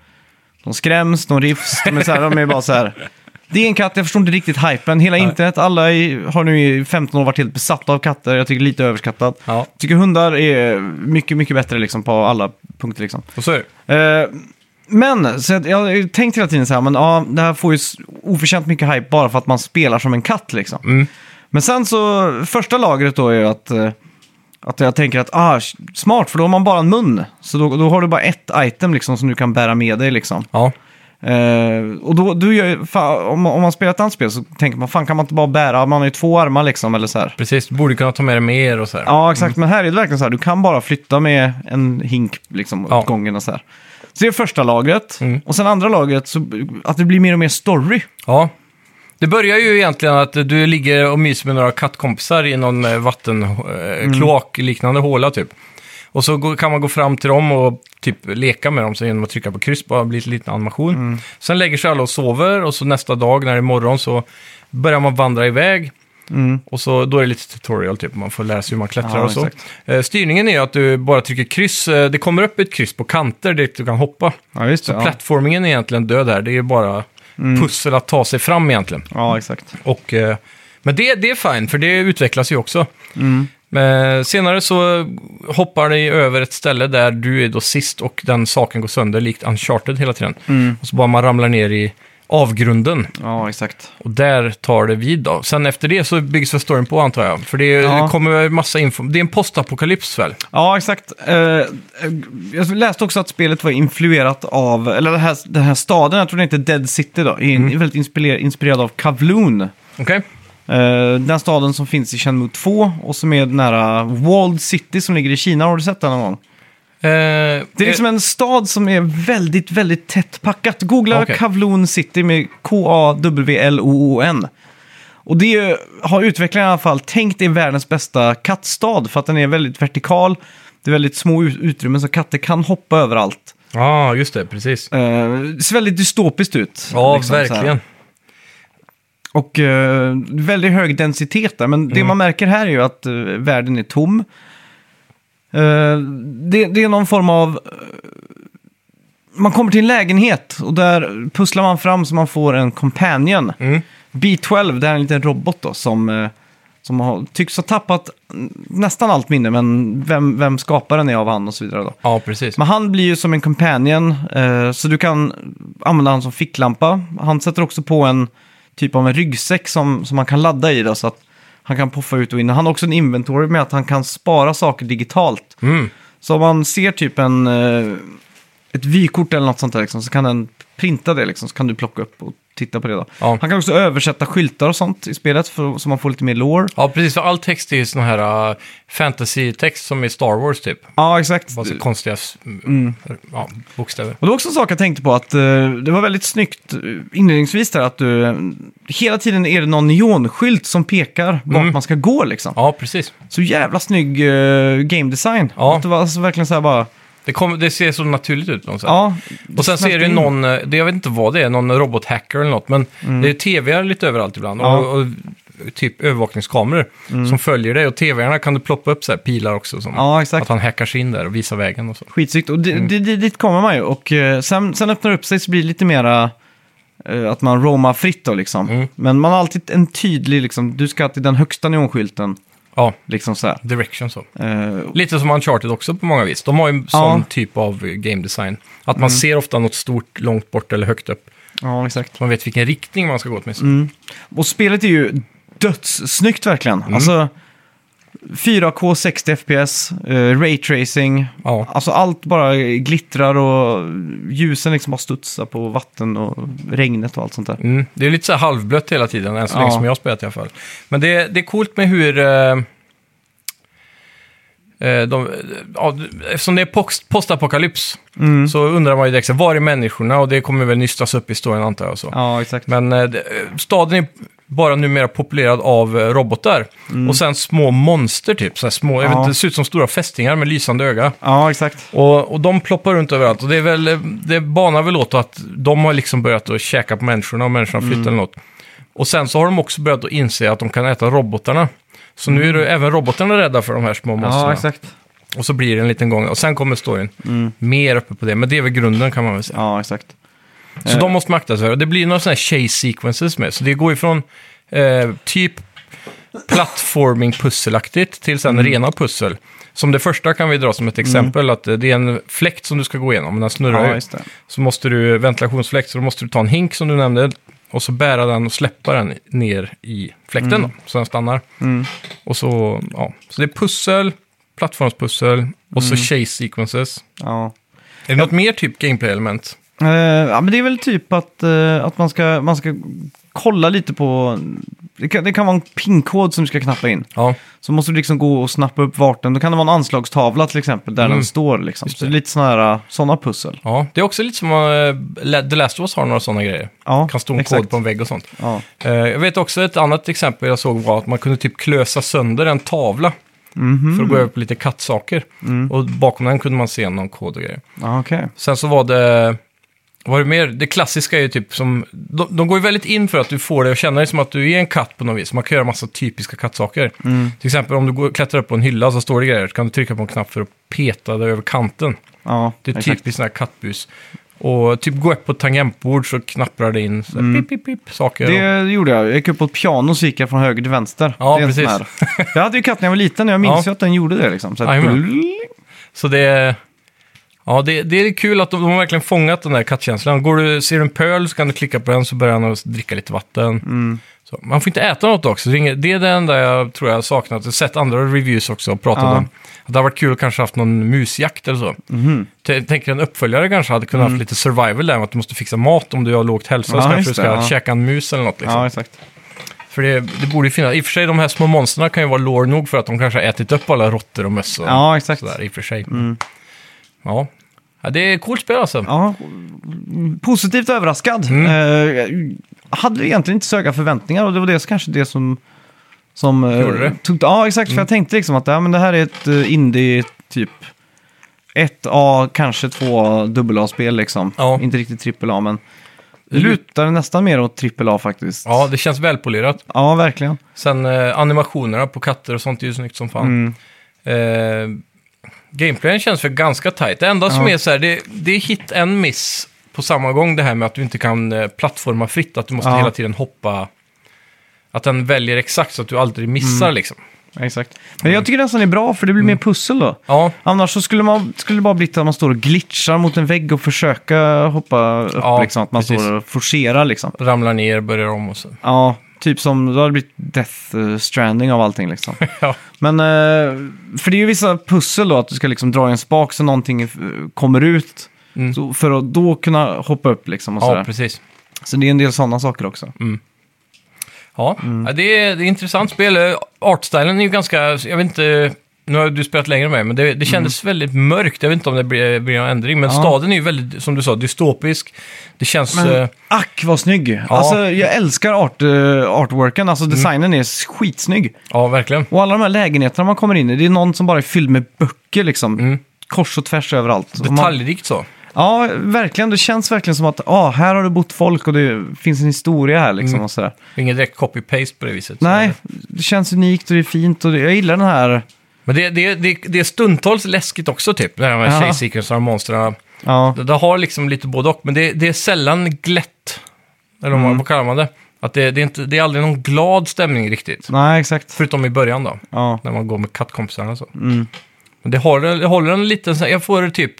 Speaker 1: de skräms, de rifs, de är, så här, de är bara så här. Det är en katt, jag förstår inte riktigt hypen. Hela internet, alla i, har nu i 15 år varit helt besatta av katter. Jag tycker lite överskattat.
Speaker 2: Ja.
Speaker 1: Tycker hundar är mycket, mycket bättre liksom, på alla punkter. Liksom.
Speaker 2: Och så är det.
Speaker 1: Eh, men, så jag, jag har ju tänkt hela tiden så här, men ja, det här får ju s- oförtjänt mycket hype bara för att man spelar som en katt liksom. Men sen så, första lagret då är ju att, eh, att jag tänker att, ah, s- smart, för då har man bara en mun. Så då, då har du bara ett item liksom som du kan bära med dig liksom.
Speaker 2: Ja.
Speaker 1: Eh, och då, du gör ju, fan, om, man- om man spelar ett annat spel så tänker man, fan kan man inte bara bära, man har ju två armar liksom eller så här.
Speaker 2: Precis, du borde kunna ta med dig mer och så här.
Speaker 1: Ja, exakt. Men här är det verkligen så här, du kan bara flytta med en hink liksom,
Speaker 2: Ja.
Speaker 1: åt gången och så här. Så det är första lagret. Och sen andra lagret, så, att det blir mer och mer story.
Speaker 2: Ja. Det börjar ju egentligen att du ligger och myser med några kattkompisar i någon eh, vatten, eh, kloak
Speaker 1: Mm.
Speaker 2: liknande håla typ. Och så går- kan man gå fram till dem och typ leka med dem så genom att trycka på kryss, bara blir en liten animation.
Speaker 1: Mm.
Speaker 2: Sen lägger sig alla och sover och så nästa dag när det är morgon så börjar man vandra iväg. Och så, då är det lite tutorial, typ. man får lära sig hur man klättrar
Speaker 1: Mm. Ja,
Speaker 2: och så.
Speaker 1: exakt.
Speaker 2: Eh, styrningen är att du bara trycker kryss, eh, det kommer upp ett kryss på kanter dit du kan hoppa.
Speaker 1: Ja, just det. Ja. Mm.
Speaker 2: Plattformingen är egentligen död här. Det är ju bara pussel att ta sig fram egentligen.
Speaker 1: ja, exakt.
Speaker 2: Och, eh, men det, det är fine, för det utvecklas ju också.
Speaker 1: Mm.
Speaker 2: Men senare så hoppar ni över ett ställe där
Speaker 1: Mm.
Speaker 2: du är då sist och den saken går sönder likt Uncharted hela tiden. Och så bara man ramlar ner i avgrunden.
Speaker 1: Ja, exakt.
Speaker 2: Och där tar det vid då. Sen efter det så byggs väl storyn på antar jag. För det
Speaker 1: Ja.
Speaker 2: kommer massa info. Det är en postapokalyps väl?
Speaker 1: Ja, exakt. Eh, jag läste också att spelet var influerat av, eller den här, den här staden, jag tror den heter Dead City då, är är väldigt inspirerad, inspirerad av Kavloon.
Speaker 2: Okej?
Speaker 1: Eh, den staden som finns i Shenmue 2 och som är nära Walled City som ligger i Kina. Har du sett den någon gång?
Speaker 2: Eh,
Speaker 1: Det är liksom en stad som är väldigt, väldigt tätt packat. Googla
Speaker 2: Okej.
Speaker 1: Kavloon City med K-A-W-L-O-O-N. Och det är, ju- har utvecklarna i alla fall tänkt är världens bästa kattstad för att den är väldigt vertikal. Det är väldigt små ut- utrymmen så katter kan hoppa överallt.
Speaker 2: Ja, ah, just det. Precis.
Speaker 1: Eh, det ser väldigt dystopiskt ut.
Speaker 2: Ja,
Speaker 1: liksom, så här.
Speaker 2: verkligen.
Speaker 1: Och eh, väldigt hög densitet där. Men det man märker här är ju att eh, världen är tom. Eh, det, det är någon form av... eh, man kommer till en lägenhet och där pusslar man fram så man får en companion.
Speaker 2: Mm.
Speaker 1: B12, det är en liten robot då som, eh, som har, tycks ha tappat mm, nästan allt minne. Men vem, vem skaparen är av han och så vidare då.
Speaker 2: Ja, precis.
Speaker 1: Men han blir ju som en companion, eh, så du kan använda han som ficklampa. Han sätter också på en typ av en ryggsäck som, som man kan ladda i då, så att han kan poffa ut och in. Han har också en inventory med att han kan spara saker digitalt.
Speaker 2: Mm.
Speaker 1: Så om man ser typ en, eh, ett vykort eller något sånt där liksom, så kan den printa det liksom, så kan du plocka upp och titta på det då.
Speaker 2: Ja.
Speaker 1: Han kan också översätta skyltar och sånt i spelet för, så man får lite mer lore.
Speaker 2: Ja, precis. För all text är ju sån här uh, fantasy-text som i Star Wars typ.
Speaker 1: Ja, exakt.
Speaker 2: Bara så konstiga s-
Speaker 1: Mm.
Speaker 2: ja, bokstäver.
Speaker 1: Och det var också en sak jag tänkte på, att eh, det var väldigt snyggt eh, inledningsvis där att du... eh, hela tiden är det någon neonskylt som pekar vart
Speaker 2: Mm.
Speaker 1: man ska gå liksom.
Speaker 2: Ja, precis.
Speaker 1: Så jävla snygg eh, game design.
Speaker 2: Ja.
Speaker 1: Att det var alltså verkligen så här bara...
Speaker 2: Det, kom, det ser så naturligt ut. på något sätt.
Speaker 1: Ja,
Speaker 2: Och sen så är det ju någon, eh, det, jag vet inte vad det är, någon robothacker eller något, men det är tv lite överallt ibland.
Speaker 1: Mm. Ja. Mm.
Speaker 2: Och, och typ övervakningskameror som följer dig. Och tv kan du ploppa upp så här pilar också. Som,
Speaker 1: Ja,
Speaker 2: att
Speaker 1: exakt.
Speaker 2: han hackar sig in där och visar vägen och så.
Speaker 1: Skitsnyggt. Och
Speaker 2: Mm.
Speaker 1: di- di- di- dit kommer man ju. Och eh, sen, sen öppnar det upp sig så blir det lite mera... eh, Att man roamar fritt då liksom.
Speaker 2: Mm.
Speaker 1: Men man har alltid en tydlig liksom, du ska till den högsta neonskylten.
Speaker 2: Ja,
Speaker 1: Liksom så här.
Speaker 2: direction så.
Speaker 1: Eh,
Speaker 2: Lite som Uncharted också på många vis. De har ju en sån typ av eh, game design. Att man ser ofta något stort långt bort eller högt upp.
Speaker 1: ja, exakt.
Speaker 2: Så man vet vilken riktning man ska gå åtminstone.
Speaker 1: Och spelet är ju dödssnyggt verkligen. Alltså 4K 60 FPS, eh, Ray Tracing.
Speaker 2: Ja.
Speaker 1: Alltså allt bara glittrar och ljusen liksom bara studsar på vatten och regnet och allt sånt där.
Speaker 2: Mm. Det är lite så här halvblött hela tiden, än så länge
Speaker 1: Ja.
Speaker 2: som jag har spelat i alla fall. Men det, det är coolt med hur... Eh, eh, de, eh, ja, eftersom det är post, postapokalyps
Speaker 1: Mm.
Speaker 2: så undrar man ju direkt, så här, var är människorna? Och det kommer väl nystas upp i storyn antar jag. och Så.
Speaker 1: Ja, exakt.
Speaker 2: Men eh, det- eh, staden är bara numera populerad av eh, robotar. Och sen små monster typ. Så här små, jag vet
Speaker 1: Mm. Ja.
Speaker 2: inte, det ser ut som stora fästingar med lysande öga.
Speaker 1: Ja, exakt.
Speaker 2: Och, och de ploppar runt överallt. Och det, är väl, eh, det banar väl åt att de har liksom börjat att käka på människorna och människorna flyttar
Speaker 1: Mm.
Speaker 2: eller något. Och sen så har de också börjat att inse att de kan äta robotarna. Så nu är det, även robotarna rädda för de här små monstren.
Speaker 1: Mm. Ja, alltså. exakt. Mm.
Speaker 2: och så blir det en liten gång. Och sen kommer storyn. Mer uppe på det. Men det är väl grunden kan man väl säga.
Speaker 1: Ja, exakt. Eh.
Speaker 2: Så de måste makta sig. Och det blir några sådana här chase sequences med. Så det går ifrån eh, typ plattforming pusselaktigt till sen
Speaker 1: Mm.
Speaker 2: rena pussel. Som det första kan vi dra som ett exempel, att eh, det är en fläkt som du ska gå igenom, men den snurrar
Speaker 1: Ja,
Speaker 2: ju.
Speaker 1: just det.
Speaker 2: Så måste du, eh, ventilationsfläkt, så då måste du ta en hink som du nämnde och så bära den och släppa den ner i fläkten
Speaker 1: Mm.
Speaker 2: då, så den stannar. Och så, ja. så det är pussel, plattformspussel och
Speaker 1: Mm.
Speaker 2: så chase sequences.
Speaker 1: Ja.
Speaker 2: Är det något mer typ gameplay-element?
Speaker 1: Eh, ja, men det är väl typ att, eh, att man, ska, man ska kolla lite på... Det kan, det kan vara en PIN-kod som du ska knappa in.
Speaker 2: Ja.
Speaker 1: Så måste du liksom gå och snappa upp vart den... Då kan det vara en anslagstavla till exempel, där
Speaker 2: Mm.
Speaker 1: den står liksom. Så
Speaker 2: det.
Speaker 1: det är lite sådana såna pussel.
Speaker 2: Ja, det är också lite som uh, The Last of Us har några sådana grejer.
Speaker 1: Ja,
Speaker 2: kan stå en
Speaker 1: exakt.
Speaker 2: kod på en vägg och sånt.
Speaker 1: Ja.
Speaker 2: Eh, jag vet också ett annat exempel jag såg var att man kunde typ klösa sönder en tavla
Speaker 1: Mhm.
Speaker 2: för att gå över på lite kattsaker.
Speaker 1: Mm.
Speaker 2: Och bakom den kunde man se någon kod och grejer.
Speaker 1: Ja, okej.
Speaker 2: Sen så var det... Vad var det mer? Det klassiska är ju typ som... De, de går ju väldigt in för att du får det att känna dig som att du är en katt på något vis. Man kan göra massa typiska kattsaker.
Speaker 1: Mm.
Speaker 2: Till exempel om du går, klättrar upp på en hylla så står det grejer. Så kan du trycka på en knapp för att peta dig över kanten.
Speaker 1: Ja,
Speaker 2: Det är
Speaker 1: exakt.
Speaker 2: typiskt sån här kattbus. Och typ gå upp på ett tangentbord så knapprar det in så här, pip, pip, pip, saker. och-
Speaker 1: Mm. Det gjorde jag. Jag gick upp på ett piano så gick jag från höger till vänster.
Speaker 2: Ja,
Speaker 1: Det är en
Speaker 2: precis.
Speaker 1: sån här. Jag hade ju katt när jag var liten och jag minns
Speaker 2: Ja.
Speaker 1: ju att den gjorde det liksom. Så att,
Speaker 2: Jajamän. Så det... Ja, det, det är kul att de, de har verkligen fångat den där kattkänslan. Går du, ser du en pöl så kan du klicka på den så börjar han att dricka lite vatten.
Speaker 1: Mm.
Speaker 2: Så, man får inte äta något också. Det är inget- det är det enda jag tror jag har saknat. Jag har sett andra reviews också och pratat
Speaker 1: Ja.
Speaker 2: om. Att det har varit kul att kanske haft någon musjakt eller så.
Speaker 1: Mhm.
Speaker 2: T- Tänker en uppföljare kanske hade kunnat haft lite survival där. med Att du måste fixa mat om du har lågt hälsa.
Speaker 1: Mm. Ja,
Speaker 2: så
Speaker 1: just
Speaker 2: kanske du ska
Speaker 1: det, ja.
Speaker 2: käka en mus eller något. Liksom.
Speaker 1: Ja, exakt.
Speaker 2: För det, det borde ju finnas. I och för sig, de här små monsterna kan ju vara lår nog för att de kanske har ätit upp alla råttor och möss och
Speaker 1: Ja, exakt. Mm.
Speaker 2: sådär i och för sig. Ja. ja, det är ett coolt spel alltså.
Speaker 1: Ja, positivt överraskad.
Speaker 2: Mm.
Speaker 1: Eh, jag hade egentligen inte så höga förväntningar och det var det som- kanske det som... som eh,
Speaker 2: Gjorde det? Mm.
Speaker 1: Tog, ja, exakt. För jag tänkte liksom att ja, men det här är ett eh, indie typ 1A, kanske 2 dubbel-A-spel liksom.
Speaker 2: Ja.
Speaker 1: Inte riktigt AAA, men det
Speaker 2: Lut-
Speaker 1: lutar nästan mer åt AAA faktiskt.
Speaker 2: Ja, det känns välpolerat.
Speaker 1: Ja, verkligen.
Speaker 2: Sen eh, animationerna på katter och sånt är ju snyggt som fan.
Speaker 1: Mm.
Speaker 2: Eh, gameplayen känns för ganska tight. Det enda som
Speaker 1: Ja.
Speaker 2: är så här, det, det är hit and miss på samma gång det här med att du inte kan eh, plattforma fritt, att du måste
Speaker 1: Ja.
Speaker 2: hela tiden hoppa. Att den väljer exakt så att du aldrig missar
Speaker 1: Mm.
Speaker 2: liksom.
Speaker 1: Exakt. Men
Speaker 2: Mm.
Speaker 1: jag tycker nästan det är bra för det blir mer pussel då.
Speaker 2: Ja,
Speaker 1: Annars så skulle, man, skulle det bara bli till att man står och glitchar mot en vägg och försöker hoppa upp.
Speaker 2: Ja,
Speaker 1: liksom, att man
Speaker 2: precis.
Speaker 1: står och forcerar liksom.
Speaker 2: ramlar ner, börjar om och så.
Speaker 1: Ja, typ som då har det blivit Death eh, Stranding av allting liksom.
Speaker 2: Ja.
Speaker 1: Men, eh, för det är ju vissa pussel då, att du ska liksom dra i en spak så någonting eh, kommer ut.
Speaker 2: Mm.
Speaker 1: Så, för att då kunna hoppa upp liksom och
Speaker 2: Ja,
Speaker 1: sådär.
Speaker 2: precis. Mm.
Speaker 1: Så det är en del sådana saker också.
Speaker 2: Ja,
Speaker 1: Mm.
Speaker 2: ja det, är, det är intressant spel. Eh, Artstylen är ju ganska, jag vet inte, nu har du spelat längre än mig, men det, det kändes väldigt mörkt. Jag vet inte om det blir, blir någon ändring, men
Speaker 1: Mm. Ja.
Speaker 2: staden är ju väldigt, som du sa, dystopisk. Det känns...
Speaker 1: Men
Speaker 2: eh,
Speaker 1: ack vad snygg! Alltså jag älskar art, eh, artworken, alltså
Speaker 2: Mm.
Speaker 1: designen är skitsnygg.
Speaker 2: ja, verkligen.
Speaker 1: Och alla de här lägenheterna man kommer in i, det är någon som bara är fylld med böcker liksom.
Speaker 2: Mm.
Speaker 1: Kors och tvärs överallt. Och man-
Speaker 2: Detaljrikt så.
Speaker 1: Ja, verkligen. Det känns verkligen som att ah, här har det bott folk och det finns en historia här liksom.
Speaker 2: Mm.
Speaker 1: Och sådär.
Speaker 2: Ingen direkt copy-paste på det viset.
Speaker 1: Nej,
Speaker 2: Så-
Speaker 1: det känns unikt och det är fint och det, jag gillar den här...
Speaker 2: Men det, det, det, det är stundtals läskigt också, typ. När de här
Speaker 1: Ja.
Speaker 2: tjejsekvenserna och monstren.
Speaker 1: Ja,
Speaker 2: Det, det har liksom lite både och, men det, det är sällan glätt. Eller mm. vad kallar man det? Att det, det, är inte, det är aldrig någon glad stämning riktigt.
Speaker 1: nej exakt.
Speaker 2: Förutom i början då,
Speaker 1: Ja,
Speaker 2: när man går med kattkompisarna och så.
Speaker 1: Mm.
Speaker 2: Men det håller, det håller en liten, så här- jag får typ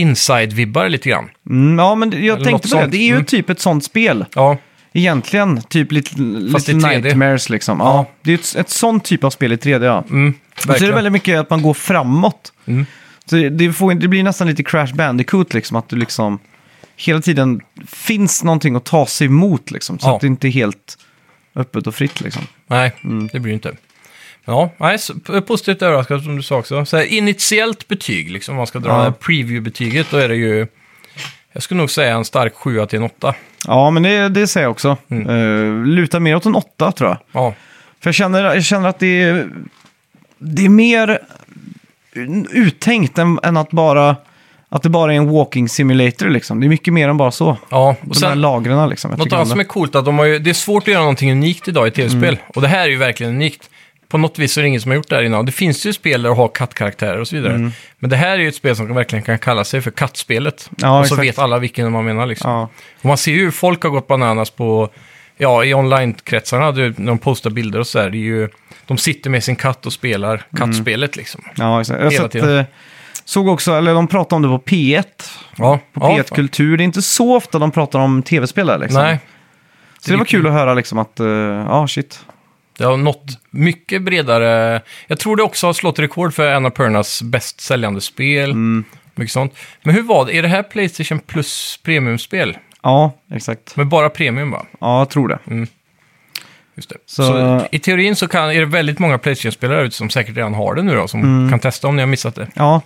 Speaker 2: inside-vibbar lite grann.
Speaker 1: mm, ja men det- jag
Speaker 2: Eller
Speaker 1: tänkte
Speaker 2: något
Speaker 1: på det.
Speaker 2: sånt.
Speaker 1: Det är ju
Speaker 2: Mm.
Speaker 1: typ ett sånt spel.
Speaker 2: Ja,
Speaker 1: Egentligen, typ lite, lite
Speaker 2: i 3D.
Speaker 1: nightmares liksom. Ja.
Speaker 2: Ja.
Speaker 1: Det är ett, ett sånt typ av spel i 3D, ja.
Speaker 2: mm,
Speaker 1: Och så är det
Speaker 2: verkligen.
Speaker 1: väldigt mycket att man går framåt.
Speaker 2: Mm.
Speaker 1: Så det- det, får, det blir nästan lite Crash Bandicoot, liksom, att du liksom hela tiden finns någonting att ta sig emot, liksom, så
Speaker 2: Ja.
Speaker 1: att det inte är helt öppet och fritt. Liksom.
Speaker 2: Nej, det blir det inte. Ja, nej, så- p- positivt överraskad som du sa också. Så här, initiellt betyg, liksom, om man ska dra
Speaker 1: Ja.
Speaker 2: det här preview-betyget, då är det ju... Jag skulle nog säga en stark 7 till en 8.
Speaker 1: Ja, men det, det säger jag också. Mm. lutar mer åt en åtta, tror jag.
Speaker 2: Ja,
Speaker 1: För jag känner, jag känner att det är, det är mer uttänkt än, än att bara... Att det bara är en walking simulator liksom. Det är mycket mer än bara så.
Speaker 2: ja.
Speaker 1: De här lagren liksom. Jag
Speaker 2: Något
Speaker 1: tycker
Speaker 2: annat
Speaker 1: om
Speaker 2: som
Speaker 1: det. Mm.
Speaker 2: är coolt är att de har ju, det är svårt att göra någonting unikt idag i tv-spel. Och det här är ju verkligen unikt. På något vis så är det ingen som har gjort det här innan. Det finns ju spel där du har kattkaraktärer och så vidare.
Speaker 1: Mm.
Speaker 2: Men det här är ju ett spel som verkligen kan kalla sig för kattspelet.
Speaker 1: Ja,
Speaker 2: och så
Speaker 1: exakt.
Speaker 2: vet alla vilken man menar liksom.
Speaker 1: Ja.
Speaker 2: Och man ser ju hur folk har gått bananas på, ja, i online-kretsarna, du- när de postar bilder och sådär. Det är ju, de sitter med sin katt och spelar kattspelet liksom.
Speaker 1: Mm. Ja, exakt. Jag
Speaker 2: Hela
Speaker 1: sett,
Speaker 2: tiden.
Speaker 1: eh, såg också, eller de pratade om det på P1.
Speaker 2: Ja,
Speaker 1: På P1 Kultur. Det är inte så ofta de pratar om tv-spel där liksom.
Speaker 2: Nej,
Speaker 1: Så det var kul att höra liksom att, eh, ja shit.
Speaker 2: Det har nått mycket bredare. Jag tror det också har slått rekord för en av Pernas bäst säljande spel.
Speaker 1: Mm.
Speaker 2: Mycket sånt. Men hur var det? Är det här Playstation Plus premiumspel?
Speaker 1: Ja, exakt.
Speaker 2: Men bara premium va?
Speaker 1: Ja, jag tror det.
Speaker 2: Just det. Så...
Speaker 1: Så-
Speaker 2: i teorin så kan, är det väldigt många Playstation-spelare ute som säkert redan har det nu då, som
Speaker 1: Mm.
Speaker 2: kan testa om ni har missat det.
Speaker 1: Ja.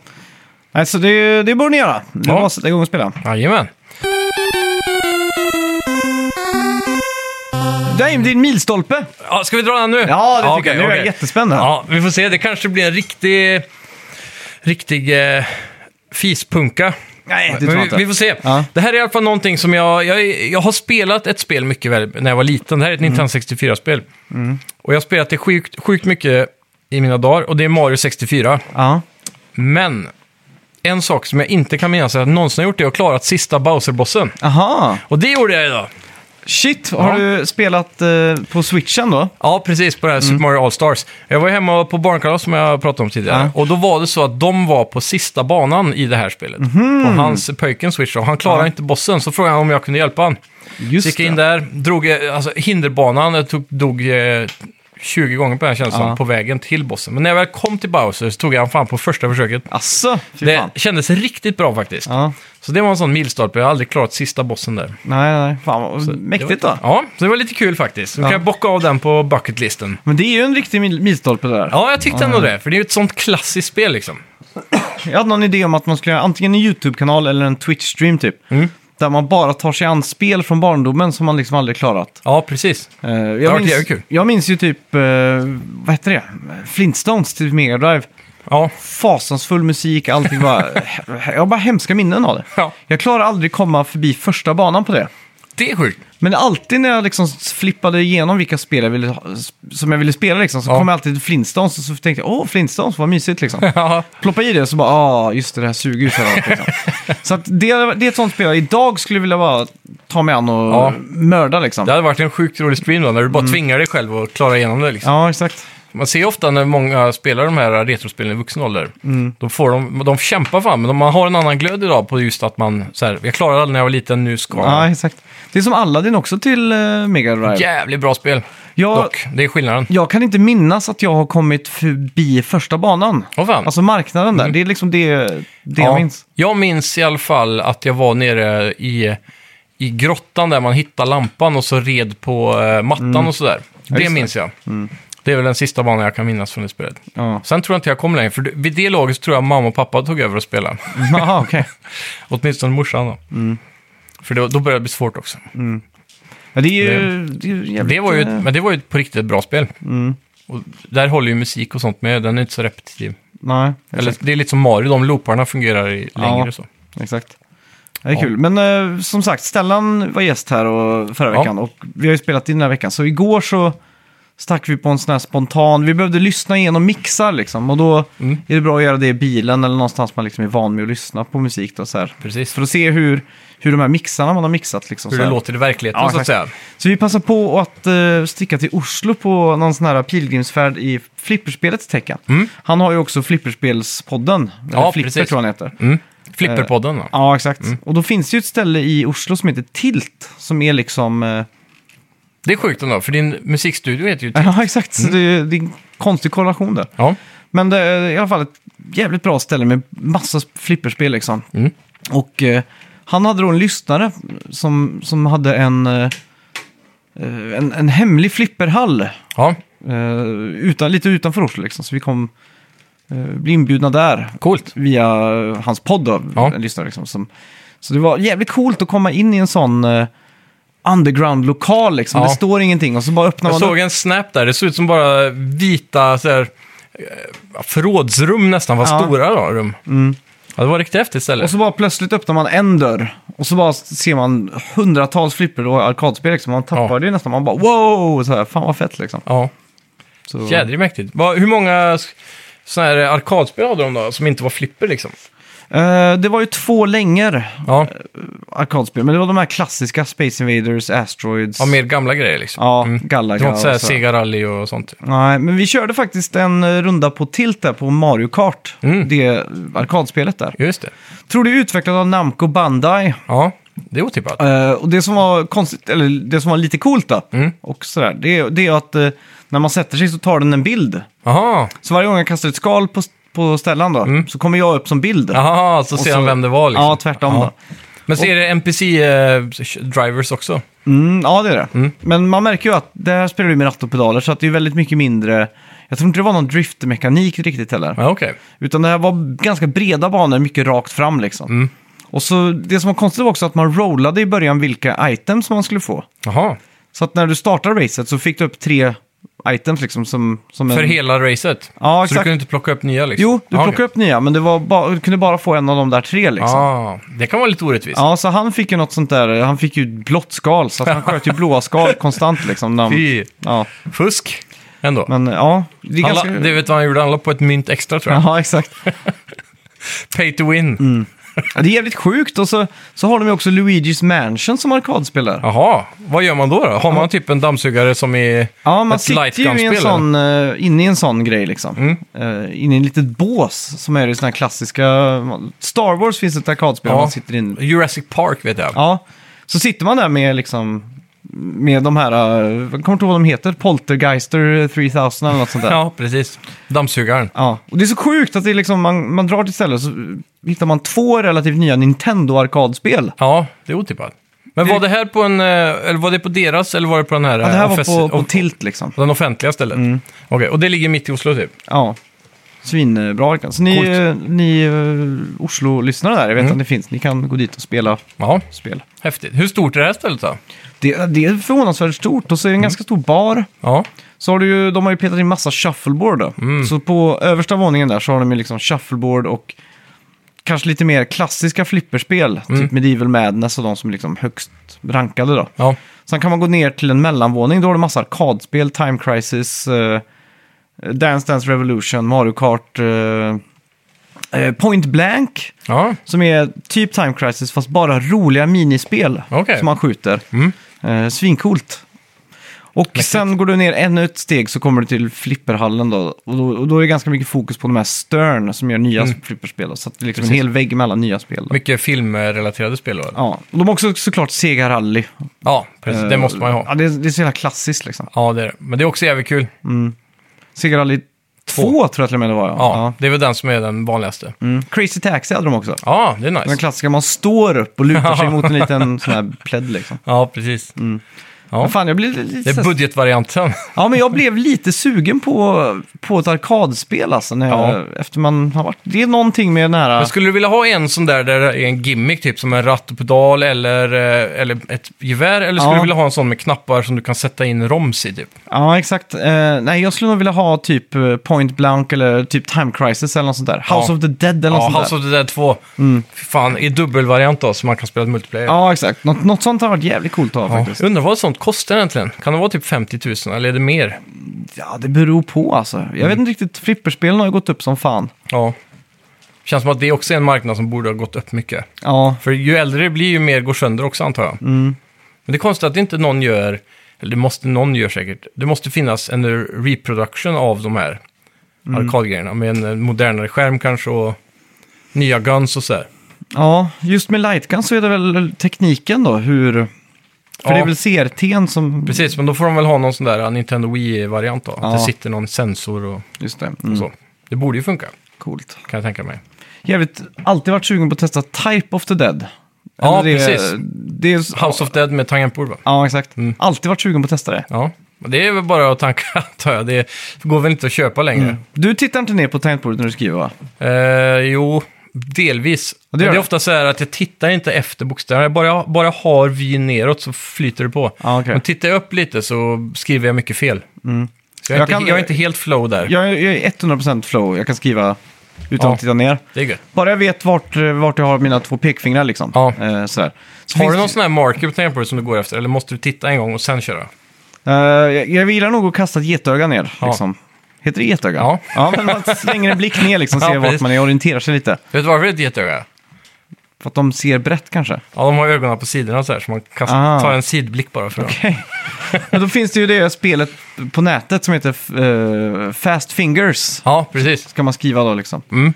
Speaker 1: Nej, så det, det borde ni göra. Det
Speaker 2: Ja.
Speaker 1: var att sätta igång och spela.
Speaker 2: Jajamän.
Speaker 1: Dame, din milstolpe!
Speaker 2: Ja, ska vi dra den nu?
Speaker 1: Ja, det tycker
Speaker 2: okej,
Speaker 1: jag. Nu är jag
Speaker 2: okej.
Speaker 1: jättespänd här.
Speaker 2: Ja, vi får se. Det kanske blir en riktig, riktig eh, fispunka.
Speaker 1: Nej, det
Speaker 2: Men
Speaker 1: tror jag
Speaker 2: vi,
Speaker 1: inte.
Speaker 2: vi får se.
Speaker 1: Ja.
Speaker 2: Det här är i alla fall någonting som jag, jag... Jag har spelat ett spel mycket väl när jag var liten. Det här är ett Nintendo 64-spel. Och jag har spelat det sjukt, sjukt mycket i mina dagar. Och det är Mario 64.
Speaker 1: Ja.
Speaker 2: Men en sak som jag inte kan minnas är att jag någonsin har gjort det är att klarat sista Bowser-bossen.
Speaker 1: Aha.
Speaker 2: Och det gjorde jag idag.
Speaker 1: Shit, har du spelat eh, på switchen då?
Speaker 2: Ja, precis. På det här Super Mario All-Stars. Jag var ju hemma på barnkalas som jag pratade om tidigare. Och då var det så att de var på sista banan i det här spelet. På hans pöjken Switch. Och han klarade inte bossen, så frågade han om jag kunde hjälpa han. Så
Speaker 1: Just
Speaker 2: gick jag in där, drog eh, alltså, hinderbanan, jag tog, dog eh, 20 gånger på den här känns det som,
Speaker 1: Ja.
Speaker 2: på vägen till bossen. Men när jag väl kom till Bowser så tog jag han fan på första försöket.
Speaker 1: Asså, fy
Speaker 2: Det
Speaker 1: fan.
Speaker 2: kändes riktigt bra faktiskt.
Speaker 1: Ja.
Speaker 2: Så det var en sån milstolpe, jag har aldrig klarat sista bossen där.
Speaker 1: Nej, nej, fan vad mäktigt då.
Speaker 2: Ja, så det var lite kul faktiskt. Nu kan
Speaker 1: Ja.
Speaker 2: jag bocka av den på bucketlisten.
Speaker 1: Men det är ju en riktig mil- milstolpe det där.
Speaker 2: Ja, jag tyckte ändå det, för det är ju ett sånt klassiskt spel liksom.
Speaker 1: Jag hade någon idé om att man skulle göra antingen en YouTube-kanal eller en Twitch-stream typ.
Speaker 2: Mm.
Speaker 1: Där man bara tar sig an spel från barndomen som man liksom aldrig klarat.
Speaker 2: Ja, precis.
Speaker 1: Eh, jag,
Speaker 2: varit
Speaker 1: minns,
Speaker 2: jävligt kul.
Speaker 1: jag minns ju typ, eh, vad heter det, Flintstones till Mega Drive.
Speaker 2: Ja,
Speaker 1: Fasansfull musik, allting bara, jag har bara hemska minnen av det.
Speaker 2: Ja.
Speaker 1: Jag klarar aldrig komma förbi första banan på det.
Speaker 2: det är sjukt.
Speaker 1: Men alltid när jag liksom flippade igenom vilka spel jag ville, ha- som jag ville spela liksom, så
Speaker 2: Ja.
Speaker 1: kom jag alltid till Flintstones och så tänkte jag åh, Flintstones, vad mysigt liksom.
Speaker 2: Ja,
Speaker 1: Ploppa i det och så bara, ah, just det, det här suger ju för allt, liksom. Så att det, det är ett sånt spel jag idag skulle vilja bara ta mig an och
Speaker 2: Ja.
Speaker 1: mörda liksom.
Speaker 2: det hade varit en sjukt rolig stream då, när du bara tvingar dig själv att klara igenom det liksom.
Speaker 1: Ja, exakt.
Speaker 2: Man ser ju ofta när många spelar de här retrospelen i vuxen ålder.
Speaker 1: Mm.
Speaker 2: Då får de, de kämpar fan, men man har en annan glöd idag på just att man, så här, jag klarade aldrig när jag var liten, nu ska
Speaker 1: Ja,
Speaker 2: jag.
Speaker 1: exakt. Det är som Aladdin också till eh, Mega Drive.
Speaker 2: Jävligt bra spel.
Speaker 1: Jag,
Speaker 2: Dock, det är skillnaden.
Speaker 1: jag kan inte minnas att jag har kommit förbi första banan.
Speaker 2: Åh fan.
Speaker 1: Alltså marknaden
Speaker 2: Mm.
Speaker 1: där, det är liksom det, det jag minns.
Speaker 2: jag minns i alla fall att jag var nere i, i grottan där man hittade lampan och så red på eh, mattan och sådär. Det
Speaker 1: Mm. just det. Mm.
Speaker 2: minns jag. Det är väl den sista banan jag kan minnas från det spelet.
Speaker 1: Ja,
Speaker 2: Sen tror jag inte jag kom längre, för det- vid det laget så tror jag mamma och pappa tog över och spelade.
Speaker 1: Aha, okej.
Speaker 2: Åtminstone morsan då.
Speaker 1: Mm.
Speaker 2: För då, då började det bli svårt också.
Speaker 1: Ja, det är ju, det Mm. är ju jävligt...
Speaker 2: Det var ju,
Speaker 1: eh,
Speaker 2: men det var ju ett på riktigt ett bra spel. Och där håller ju musik och sånt med, den är inte så repetitiv.
Speaker 1: Nej,
Speaker 2: Eller,
Speaker 1: exakt.
Speaker 2: det är lite som Mario, de looparna fungerar i,
Speaker 1: Ja.
Speaker 2: längre så.
Speaker 1: exakt. Det är kul. Men eh, som sagt, Stellan var gäst här och, förra
Speaker 2: Ja.
Speaker 1: veckan och vi har ju spelat in den här veckan. Så igår så stack vi på en sån här spontan... Vi behövde lyssna igenom mixar liksom. Och då
Speaker 2: Mm.
Speaker 1: är det bra att göra det i bilen eller någonstans man liksom är van med att lyssna på musik. Då, så här.
Speaker 2: Precis.
Speaker 1: För att se hur, hur de här mixarna man har mixat liksom.
Speaker 2: Hur
Speaker 1: så
Speaker 2: det
Speaker 1: här.
Speaker 2: låter i verkligheten
Speaker 1: Ja,
Speaker 2: så att säga.
Speaker 1: Så vi passar på att eh, sticka till Oslo på någon sån här pilgrimsfärd i flipperspelets tecken. Han har ju också flipperspelspodden, eller
Speaker 2: Mm. Ja,
Speaker 1: Flipper
Speaker 2: precis.
Speaker 1: tror jag han heter.
Speaker 2: Mm. Flipperpodden va?
Speaker 1: Ja, exakt. Och då finns det ju ett ställe i Oslo som heter Tilt, som är liksom... eh,
Speaker 2: Det är sjukt ändå, för din musikstudio heter ju... typ-
Speaker 1: Ja, exakt. Så det, är- det är en konstig korrelation där.
Speaker 2: Ja,
Speaker 1: Men det är i alla fall ett jävligt bra ställe med massa flipperspel liksom.
Speaker 2: Mm.
Speaker 1: Och eh, han hade då en lyssnare som, som hade en, eh, eh, en, en hemlig flipperhall.
Speaker 2: ja.
Speaker 1: Eh, utan, lite utanför Oslo liksom, så vi kom eh, bli inbjudna där
Speaker 2: coolt.
Speaker 1: via eh, hans podd då,
Speaker 2: Ja.
Speaker 1: en lyssnare liksom. Som, så det var jävligt coolt att komma in i en sån eh, underground-lokal liksom.
Speaker 2: Ja.
Speaker 1: Det står ingenting och så bara öppnar
Speaker 2: Jag
Speaker 1: man
Speaker 2: såg
Speaker 1: upp.
Speaker 2: en snap där, det såg ut som bara vita så här, eh, förrådsrum nästan, vad
Speaker 1: Ja. Mm.
Speaker 2: stora då, rum. Ja, det var riktigt häftigt ställe.
Speaker 1: Och så bara plötsligt öppnar man en dörr och så bara ser man hundratals flipper och arkadspel liksom. Man tappar
Speaker 2: Ja.
Speaker 1: det nästan. Man bara wow! Så här, fan vad fett liksom.
Speaker 2: Ja,
Speaker 1: Så,
Speaker 2: jädrigt Mm. mäktigt. Vad- Hur många sådana här arkadspel hade de då, som inte var flipper liksom?
Speaker 1: Eh, det var ju två längor
Speaker 2: Ja,
Speaker 1: arkadspel, men det var de här klassiska Space Invaders, Asteroids.
Speaker 2: ja mer gamla grejer liksom.
Speaker 1: Ja,
Speaker 2: Mm.
Speaker 1: Galaga
Speaker 2: Det var inte såhär
Speaker 1: och så.
Speaker 2: Sega Rally och sånt.
Speaker 1: Nej, men vi körde faktiskt en eh, runda på Tilt där på Mario Kart.
Speaker 2: Mm.
Speaker 1: Det eh, arkadspelet där.
Speaker 2: Just det.
Speaker 1: Tror det är utvecklat av Namco Bandai.
Speaker 2: Ja, det är otippat.
Speaker 1: Eh, och det som var konstigt, eller det som var lite coolt då,
Speaker 2: Mm.
Speaker 1: och sådär, det, det är att eh, när man sätter sig så tar den en bild.
Speaker 2: Aha,
Speaker 1: Så varje gång jag kastar ett skal på, på ställan då, så kommer jag upp som bild.
Speaker 2: aha så
Speaker 1: Och
Speaker 2: Mm. ser
Speaker 1: så-
Speaker 2: han vem det var liksom.
Speaker 1: Ja, tvärtom
Speaker 2: Ja.
Speaker 1: då.
Speaker 2: Men så är det eh, NPC-drivers också?
Speaker 1: Mm, ja, det är det. Men man märker ju att det här spelar du med ratt och pedaler, så att det är väldigt mycket mindre... Jag tror inte det var någon driftmekanik riktigt heller.
Speaker 2: Ja, okej.
Speaker 1: Utan det här var ganska breda banor, mycket rakt fram liksom.
Speaker 2: Mm.
Speaker 1: Och så det som var konstigt var också att man rollade i början vilka items man skulle få.
Speaker 2: Jaha,
Speaker 1: Så att när du startade racet så fick du upp tre items liksom som... som
Speaker 2: för
Speaker 1: en...
Speaker 2: hela racet?
Speaker 1: Ja,
Speaker 2: Så du
Speaker 1: exakt.
Speaker 2: kunde inte plocka upp nya liksom?
Speaker 1: Jo, du
Speaker 2: Ja,
Speaker 1: plockade
Speaker 2: okej.
Speaker 1: upp nya, men det var ba... du kunde bara få en av de där tre liksom.
Speaker 2: Ah, det kan vara lite orättvist.
Speaker 1: Ja, så han fick ju något sånt där, han fick ju blått skal, så att han sköt ju blåa skal konstant liksom. När han...
Speaker 2: Fy,
Speaker 1: Ja,
Speaker 2: fusk ändå.
Speaker 1: men ja, det är
Speaker 2: han la,
Speaker 1: ganska...
Speaker 2: det vet vad han gjorde, han la på ett mynt extra tror jag.
Speaker 1: Ja, Mm. exakt.
Speaker 2: Pay to win.
Speaker 1: Ja, det är jävligt sjukt och så, så har de ju också Luigi's Mansion som arkadspel där. Ja,
Speaker 2: Jaha, vad gör man då? då? Har man typ en dammsugare som är
Speaker 1: man
Speaker 2: ett light
Speaker 1: sitter ju i en
Speaker 2: gun-spel,
Speaker 1: sån, eh, inne i en sån grej liksom.
Speaker 2: Mm.
Speaker 1: Eh, inne i en litet bås som är i såna här klassiska... Star Wars finns ett arkadspel
Speaker 2: Ja.
Speaker 1: man sitter inne
Speaker 2: Jurassic Park vet jag.
Speaker 1: Ja, så sitter man där med liksom... Med de här, eh, jag kommer inte ihåg vad de heter, Poltergeister 3000 eller något sånt där.
Speaker 2: Ja, precis. Dammsugaren.
Speaker 1: Ja, och det är så sjukt att det är liksom, man, man drar till stället så hittar man två relativt nya Nintendo-arkadspel.
Speaker 2: Ja, det är otippat. Men var det här på en, eh, eller var det på deras, eller var det på den här?
Speaker 1: Ja, det här
Speaker 2: eh,
Speaker 1: var
Speaker 2: offes-
Speaker 1: på, Mm. på
Speaker 2: off-
Speaker 1: Tilt liksom.
Speaker 2: på den offentliga stället? Okej, och det ligger mitt i Oslo typ?
Speaker 1: Ja. Svinbra verkligen. Så ni,
Speaker 2: Coolt.
Speaker 1: eh, ni eh, Oslo-lyssnare där, jag vet att det finns, ni kan gå dit och spela
Speaker 2: Ja,
Speaker 1: spel.
Speaker 2: häftigt. Hur stort är det här stället då?
Speaker 1: Det, det är förvånansvärt stort och så är det en ganska stor bar.
Speaker 2: Ja,
Speaker 1: Så har du ju, de har ju petat in massa shuffleboard då. Så på översta våningen där så har de ju liksom shuffleboard och kanske lite mer klassiska flipperspel. Typ Medieval Madness och de som är liksom högst rankade då.
Speaker 2: ja.
Speaker 1: Sen kan man gå ner till en mellanvåning, då har du massa arkadspel, Time Crisis, eh, Dance Dance Revolution, Mario Kart, eh, eh, Point Blank,
Speaker 2: ja.
Speaker 1: som är typ Time Crisis fast bara roliga minispel
Speaker 2: Okej. Mm.
Speaker 1: som man skjuter. Eh, svincoolt. Och sen går du ner ännu ett steg så kommer du till flipperhallen då. Och då, och då är det ganska mycket fokus på de här Stern som gör nya flipperspel. Då. Så att det är liksom en
Speaker 2: Mm. Precis.
Speaker 1: hel vägg mellan nya spel. Då.
Speaker 2: Mycket filmrelaterade spel då? eller?
Speaker 1: Ja, och de har också såklart Sega Rally.
Speaker 2: Ja, precis. Det
Speaker 1: Eh,
Speaker 2: måste man ju
Speaker 1: Ja,
Speaker 2: ha.
Speaker 1: det, är- det är så jävla klassiskt liksom.
Speaker 2: Ja, det är det. Men det är också jävligt kul.
Speaker 1: Sega Rally 2 tror jag till och med det var. Ja.
Speaker 2: Ja, det är väl den som är den vanligaste.
Speaker 1: Mm. Crazy Taxi hade de också.
Speaker 2: Ja, det är
Speaker 1: Den
Speaker 2: nice.
Speaker 1: klassiska, man står upp och lutar sig mot en liten sån här pledd liksom.
Speaker 2: Ja, precis.
Speaker 1: Men fan, jag blev lite...
Speaker 2: Det är budgetvarianten.
Speaker 1: Ja, men jag blev lite sugen på, på ett arkadspel alltså, när jag, efter man har varit... Det är någonting med den här...
Speaker 2: Men skulle du vilja ha en sån där där det är en gimmick, typ som en ratt och pedal eller, eh, eller ett gevär? Eller skulle
Speaker 1: Ja.
Speaker 2: du vilja ha en sån med knappar som du kan sätta in roms i, typ?
Speaker 1: Ja, exakt. Eh, nej, jag skulle nog vilja ha typ eh, Point Blank eller typ Time Crisis eller något sånt där. House
Speaker 2: Ja.
Speaker 1: of the Dead eller något
Speaker 2: Ja,
Speaker 1: sånt
Speaker 2: House
Speaker 1: där. Mm.
Speaker 2: of the Dead 2. Fy fan, i dubbelvariant då, så man kan spela ett multiplayer.
Speaker 1: Ja, exakt. Något, något sånt har varit jävligt coolt att ha
Speaker 2: Ja.
Speaker 1: faktiskt.
Speaker 2: Undrar vad sånt kostar egentligen? Kan det vara typ 50 000 eller är det mer?
Speaker 1: Ja, det beror på alltså. Jag
Speaker 2: Mm.
Speaker 1: vet inte riktigt, flipperspelen har ju gått upp som fan.
Speaker 2: Ja. Känns som att det också är en marknad som borde ha gått upp mycket.
Speaker 1: Ja,
Speaker 2: För ju äldre det blir ju mer går sönder också antar jag.
Speaker 1: Mm.
Speaker 2: Men det är konstigt att inte någon gör, eller det måste någon gör säkert, det måste finnas en reproduction av de här
Speaker 1: Mm.
Speaker 2: arkadgrejerna med en eh, modernare skärm kanske och nya guns och sådär.
Speaker 1: Ja, just med Lightgun så är det väl tekniken då, hur... För
Speaker 2: Ja.
Speaker 1: det är väl CRT'n som...
Speaker 2: Precis, men då får de väl ha någon sån där eh, Nintendo Wii-variant då. Att
Speaker 1: Ja.
Speaker 2: det sitter någon sensor och,
Speaker 1: Just det,
Speaker 2: och
Speaker 1: mm,
Speaker 2: så. Det borde ju funka,
Speaker 1: coolt.
Speaker 2: kan jag tänka mig.
Speaker 1: Jävligt, alltid varit sugen på att testa Type of the Dead.
Speaker 2: Ja,
Speaker 1: Eller det,
Speaker 2: precis.
Speaker 1: Det är,
Speaker 2: House Mm. of Dead med tangentbord va?
Speaker 1: ja, exakt. Alltid varit sugen på att testa det.
Speaker 2: Ja. Men Det är väl bara att tanka, antar jag. Det går väl inte att köpa längre.
Speaker 1: Du tittar inte ner på tangentbordet när du skriver va?
Speaker 2: Eh, jo, delvis.
Speaker 1: Ja, det
Speaker 2: Det, det
Speaker 1: gör
Speaker 2: är
Speaker 1: det.
Speaker 2: ofta så här att jag tittar inte efter bokstäverna. Jag bara, bara har vyn neråt så flyter det på.
Speaker 1: Ja, Ah, okej. Mm.
Speaker 2: Men tittar jag upp lite så skriver jag mycket fel. Så jag,
Speaker 1: Jag
Speaker 2: är inte,
Speaker 1: kan-
Speaker 2: jag är inte helt flow där.
Speaker 1: Jag, är- jag är 100% flow, jag kan skriva utan
Speaker 2: Ja.
Speaker 1: att titta ner.
Speaker 2: Det är gött.
Speaker 1: Bara jag vet vart, vart jag har mina två pekfingrar liksom.
Speaker 2: Ja.
Speaker 1: Eh, sådär. Så
Speaker 2: Har
Speaker 1: finns
Speaker 2: du någon
Speaker 1: det-
Speaker 2: sån här marker på tangentbordet som du går efter? Eller måste du titta en gång och sen köra?
Speaker 1: Eh, jag, jag gillar nog att kasta ett getöga ner.
Speaker 2: Ja.
Speaker 1: Liksom. Heter det getöga?
Speaker 2: Ja.
Speaker 1: men man slänger en blick ner liksom,
Speaker 2: Ja,
Speaker 1: ser vart
Speaker 2: precis.
Speaker 1: man är och orienterar sig lite.
Speaker 2: Vet du varför det är ett getöga?
Speaker 1: För att de ser brett kanske.
Speaker 2: Ja, de har ögonen på sidorna så här så man kastar,
Speaker 1: Ah.
Speaker 2: tar en sidblick bara för att...
Speaker 1: Okej. men då finns det ju det spelet på nätet som heter eh, Fast Fingers.
Speaker 2: Ja, precis.
Speaker 1: Ska man skriva då liksom.
Speaker 2: Mm.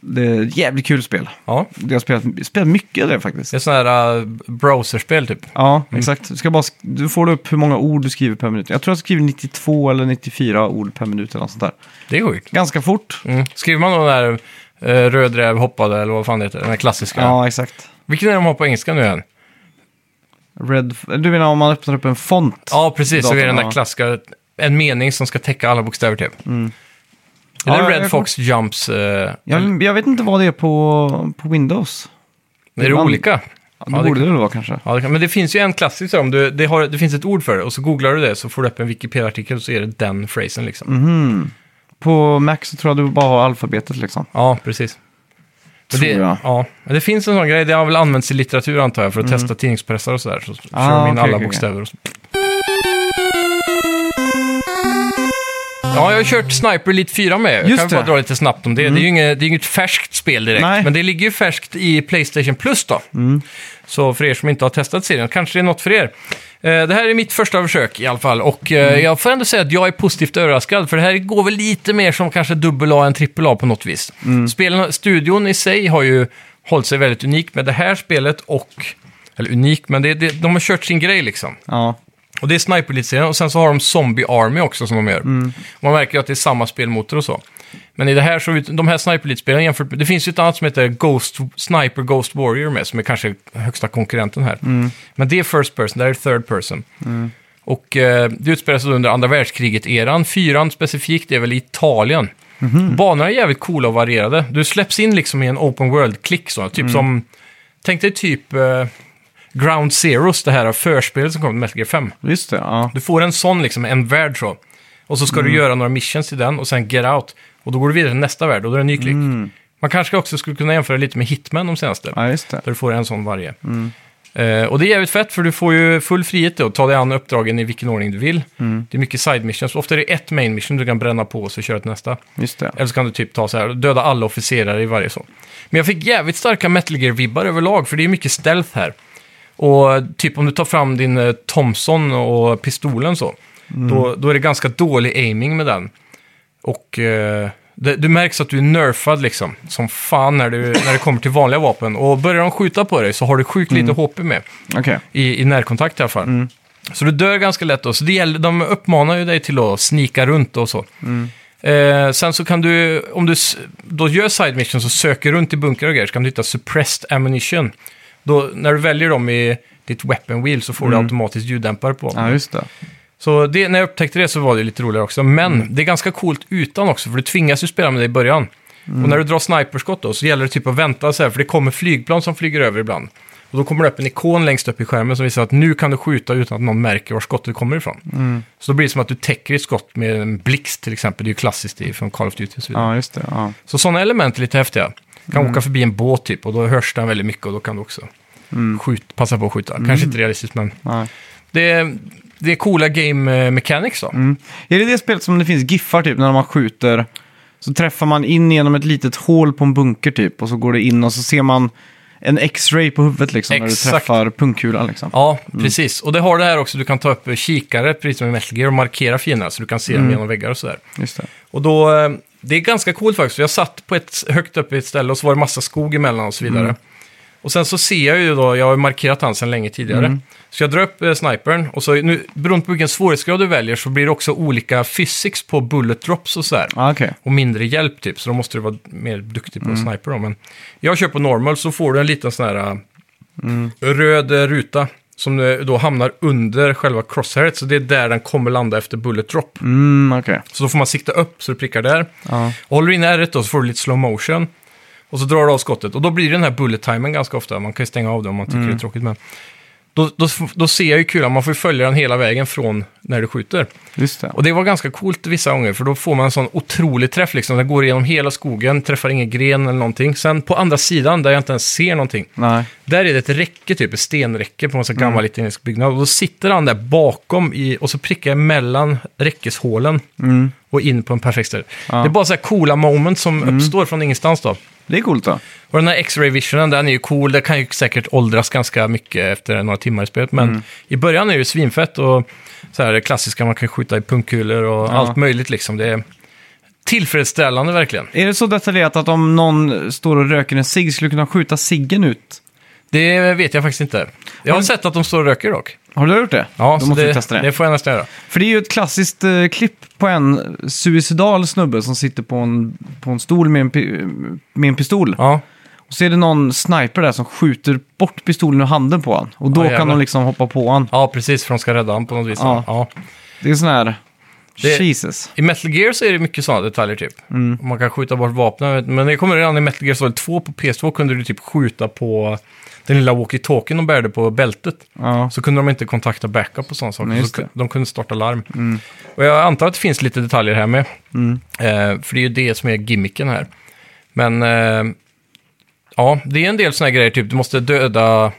Speaker 1: Det är ett jävligt kul spel.
Speaker 2: Ja.
Speaker 1: Jag har spelat, spelat mycket av det faktiskt.
Speaker 2: Det är sån här äh, browserspel typ.
Speaker 1: Ja, exakt. Du, ska bara, sk- du får upp hur många ord du skriver per minut. Jag tror jag skriver 92 eller 94 ord per minut eller något sånt där.
Speaker 2: Det är sjukt.
Speaker 1: Ganska fort.
Speaker 2: Mm. Skriver man då den där eh, röd räv hoppade eller vad fan det heter, den här klassiska.
Speaker 1: Ja, exakt.
Speaker 2: Vilken är de har på engelska nu än?
Speaker 1: Red, du menar om man öppnar upp en font?
Speaker 2: Ja, precis. Så
Speaker 1: Datorn,
Speaker 2: är den
Speaker 1: ja. Mm.
Speaker 2: där klassiska, en mening som ska täcka alla bokstäver typ. Är
Speaker 1: Ja,
Speaker 2: det
Speaker 1: jag-
Speaker 2: Red
Speaker 1: jag-
Speaker 2: Fox Jumps? eh, eller-
Speaker 1: Jag, jag vet inte vad det är på, på Windows.
Speaker 2: är det
Speaker 1: ibland-
Speaker 2: olika?
Speaker 1: Ja, det
Speaker 2: Ja, det-
Speaker 1: borde det väl vara kanske.
Speaker 2: Ja, det kan, men det finns ju en klassisk så om du, det, har, det finns ett ord för det och så googlar du det så får du upp en Wikipedia-artikel och så är det den frasen liksom.
Speaker 1: Mm. På Mac så tror jag du bara har alfabetet liksom.
Speaker 2: Ja, precis. Men det,
Speaker 1: Tror jag.
Speaker 2: ja, men det finns en sån grej, det har väl använts i litteratur antar jag för att testa tidningspressar och sådär. Så kör
Speaker 1: Mm. Ah,
Speaker 2: de in
Speaker 1: okej,
Speaker 2: alla
Speaker 1: okej,
Speaker 2: bokstäver. Och så. Ja, jag har kört Sniper Elite 4 med. Jag
Speaker 1: Just
Speaker 2: kan det. bara
Speaker 1: det.
Speaker 2: dra lite snabbt om det. Det är ju inget, det är inget färskt spel direkt,
Speaker 1: Nej.
Speaker 2: men det ligger ju färskt i Playstation Plus då. Så för er som inte har testat serien, kanske det är något för er. Eh, Det här är mitt första försök i alla fall och eh, jag får ändå säga att jag är positivt överraskad för det här går väl lite mer som kanske dubbel-A än trippel-A på något vis. Spelen, studion i sig har ju hållit sig väldigt unik med det här spelet och... Eller unik, men det, det, de har kört sin grej liksom.
Speaker 1: Ja.
Speaker 2: Och det är Sniper Elite-serien och sen så har de Zombie Army också som de gör. Man märker ju att det är samma spelmotor och så. Men i det här så, ut- de här Sniper Elite-spelen jämfört med, det finns ju ett annat som heter Ghost, Sniper Ghost Warrior med, som är kanske högsta konkurrenten här. Men det är First Person, det här är Third Person. Och eh, det utspelar sig under andra världskriget-eran. Fyran specifikt är väl i Italien. Banorna är jävligt coola och varierade. Du släpps in liksom i en open world-klick så. Typ som, tänk dig typ eh, Ground Zeros, det här förspelet som kom till Metal Gear 5.
Speaker 1: Just det, ja.
Speaker 2: Du får en sån, liksom, en värld så. Och så ska du göra några missions i den och sen get out. Och då går du vidare till nästa värld och då är det en ny klick. Man kanske också skulle kunna jämföra lite med Hitman de senaste.
Speaker 1: Ja, just det.
Speaker 2: Där du får en sån varje. Eh, och det är jävligt fett för du får ju full frihet då, att ta dig an uppdragen i vilken ordning du vill. Det är mycket side missions. Ofta är det ett main mission du kan bränna på och så köra till nästa.
Speaker 1: Just det.
Speaker 2: Eller så kan du typ ta så här, döda alla officerare i varje så. Men jag fick jävligt starka Metal Gear-vibbar överlag, för det är mycket stealth här. Och typ om du tar fram din eh, Thompson och pistolen så, då, då är det ganska dålig aiming med den. Och eh, det, du märks att du är nerfad liksom, som fan när, du, när det kommer till vanliga vapen. Och börjar de skjuta på dig så har du sjukt lite HP med,
Speaker 1: Okej.
Speaker 2: i, i närkontakt i alla fall. Så du dör ganska lätt då, så det gäller, de uppmanar ju dig till att snika runt och så. Eh, sen så kan du, om du s- då gör side missions och söker runt i bunkrar och grejer, så kan du hitta suppressed ammunition. Då, när du väljer dem i ditt weapon wheel så får du automatiskt ljuddämpare på.
Speaker 1: Mm. Ja, just det.
Speaker 2: Så det, när jag upptäckte det så var det lite roligare också. Men det är ganska coolt utan också, för du tvingas ju spela med det i början. Och när du drar sniperskott då, så gäller det typ att vänta så här, för det kommer flygplan som flyger över ibland. Och då kommer det upp en ikon längst upp i skärmen som visar att nu kan du skjuta utan att någon märker var skottet kommer ifrån. Så då blir det som att du täcker ett skott med en blixt till exempel. Det är ju klassiskt i- från Call of Duty och så vidare.
Speaker 1: Ja, just det. Ja.
Speaker 2: Så sådana element är lite häftiga. Kan åka förbi en båt typ och då hörs den väldigt mycket och då kan du också skjut, passa på att skjuta. Kanske inte realistiskt men
Speaker 1: Nej.
Speaker 2: det är, det är coola game eh, mechanics då.
Speaker 1: Mm. Är det det spelet som det finns giffar typ, när man skjuter? Så träffar man in genom ett litet hål på en bunker typ, och så går det in och så ser man en X-ray på huvudet liksom, när du
Speaker 2: Exakt.
Speaker 1: träffar pungkulan liksom.
Speaker 2: Ja, precis. Och det har det här också, du kan ta upp kikare, precis som i Metal Gear, och markera fienderna så du kan se dem genom väggar och sådär.
Speaker 1: Just det.
Speaker 2: Och då, eh, det är ganska coolt faktiskt, för jag satt på ett, högt upp i ett ställe och så var det massa skog emellan och så vidare. Och sen så ser jag ju då, jag har ju markerat han sedan länge tidigare. Så jag drar upp eh, snipern och så nu, beroende på vilken svårighetsgrad du väljer så blir det också olika physics på bullet drops och sådär.
Speaker 1: Ah, Okej.
Speaker 2: och mindre hjälp typ, så då måste du vara mer duktig på att sniper då. Men jag kör på normal så får du en liten sån här äh, röd eh, ruta som eh, då hamnar under själva crosshairet, så det är där den kommer landa efter bullet drop.
Speaker 1: Mm, okej.
Speaker 2: Så då får man sikta upp så du prickar där.
Speaker 1: Ja.
Speaker 2: Och håller du in R1 då så får du lite slow motion. Och så drar du av skottet. Och då blir det den här bullet timen ganska ofta. Man kan ju stänga av det om man tycker det är tråkigt. Men då, då, då ser jag ju kulan. Man får ju följa den hela vägen från när du skjuter.
Speaker 1: Just det.
Speaker 2: Och det var ganska coolt vissa gånger, för då får man en sån otrolig träff liksom. Den går igenom hela skogen, träffar ingen gren eller någonting. Sen på andra sidan, där jag inte ens ser någonting,
Speaker 1: Nej.
Speaker 2: där är det ett räcke, typ ett stenräcke på en sån gammal italiensk byggnad. Och då sitter han där bakom i, och så prickar jag mellan räckeshålen och in på en perfekt ställe. Det är bara så här coola moment som uppstår från ingenstans då.
Speaker 1: Det är coolt då.
Speaker 2: Och den här X-ray visionen, den är ju cool. Den kan ju säkert åldras ganska mycket efter några timmar i spelet.
Speaker 1: Mm.
Speaker 2: Men i början är det ju svinfett och så här det klassiska, man kan skjuta i punkkulor och allt möjligt liksom. Det är tillfredsställande verkligen.
Speaker 1: Är det så detaljerat att om någon står och röker en cigg skulle kunna skjuta ciggen ut?
Speaker 2: Det vet jag faktiskt inte. Jag har sett att de står och röker dock.
Speaker 1: Har du gjort det?
Speaker 2: Ja,
Speaker 1: Då
Speaker 2: så
Speaker 1: måste
Speaker 2: det,
Speaker 1: vi testa det.
Speaker 2: det får jag nästan göra.
Speaker 1: För det är ju ett klassiskt eh, klipp på en suicidal snubbe som sitter på en, på en stol med en, pi- med en pistol.
Speaker 2: Ja,
Speaker 1: Och så är det någon sniper där som skjuter bort pistolen ur handen på han. Och då
Speaker 2: Ja,
Speaker 1: kan
Speaker 2: jävlar.
Speaker 1: de liksom hoppa på han.
Speaker 2: ja precis, för de ska rädda honom på något vis.
Speaker 1: Ja.
Speaker 2: Ja.
Speaker 1: Det är sån här...
Speaker 2: Det-
Speaker 1: Jesus.
Speaker 2: I Metal Gear så är det mycket sådana detaljer typ.
Speaker 1: Mm.
Speaker 2: Man kan skjuta bort vapnen. Men det kommer redan i Metal Gear Solid 2 på PS2 kunde du typ skjuta på den lilla walkie-talkien de bärde på bältet.
Speaker 1: Ja.
Speaker 2: Så kunde de inte kontakta backup och sådana saker.
Speaker 1: Nej, just
Speaker 2: så kun-
Speaker 1: det. Mm.
Speaker 2: de kunde starta larm. Och jag antar att det finns lite detaljer här med. Eh, för det är ju det som är gimmicken här. Men eh, ja, det är en del sådana grejer, typ du måste döda
Speaker 1: Mm.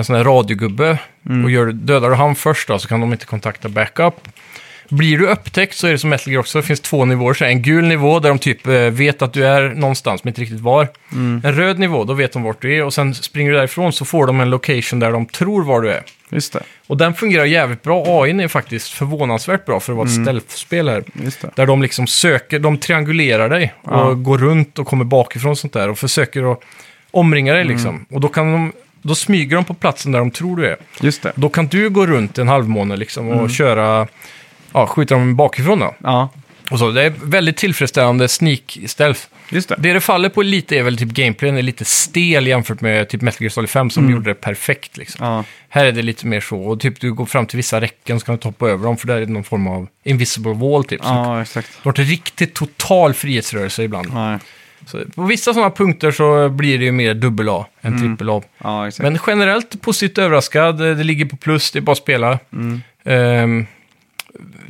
Speaker 2: en sån här radiogubbe. Och gör, dödar du han först då, så kan de inte kontakta backup. Blir du upptäckt så är det som Metal Gear också, det finns två nivåer. Så här, en gul nivå där de typ eh, vet att du är någonstans men inte riktigt var.
Speaker 1: Mm.
Speaker 2: En röd nivå, då vet de vart du är och sen springer du därifrån så får de en location där de tror var du är.
Speaker 1: Just det.
Speaker 2: Och den fungerar jävligt bra. AI är faktiskt förvånansvärt bra för att vara ett stealth-spel här.
Speaker 1: Just det.
Speaker 2: Där de liksom söker, de triangulerar dig och går runt och kommer bakifrån och sånt där och försöker att omringa dig liksom. Och då kan de, då smyger de på platsen där de tror du är.
Speaker 1: Just det.
Speaker 2: Då kan du gå runt en halvmåne liksom och köra, ja, skjuta dem bakifrån då.
Speaker 1: Ja,
Speaker 2: Och så, det är väldigt tillfredsställande sneak-stealth.
Speaker 1: just det.
Speaker 2: Det det faller på lite är väl typ gameplayen är lite stel jämfört med typ Metal Gear Solid 5 som gjorde det perfekt liksom.
Speaker 1: Ja.
Speaker 2: Här är det lite mer så, och typ du går fram till vissa räcken så kan du inte hoppa över dem för där är det någon form av invisible wall typ. Så
Speaker 1: ja, exakt.
Speaker 2: det har varit riktigt total frihetsrörelse ibland.
Speaker 1: Nej.
Speaker 2: Så på vissa sådana punkter så blir det ju mer dubbel A än
Speaker 1: Mm.
Speaker 2: trippel A.
Speaker 1: Ja, exakt.
Speaker 2: Men generellt positivt överraskad, eh, det ligger på plus, det är bara att spela.
Speaker 1: Mm.
Speaker 2: Ehm,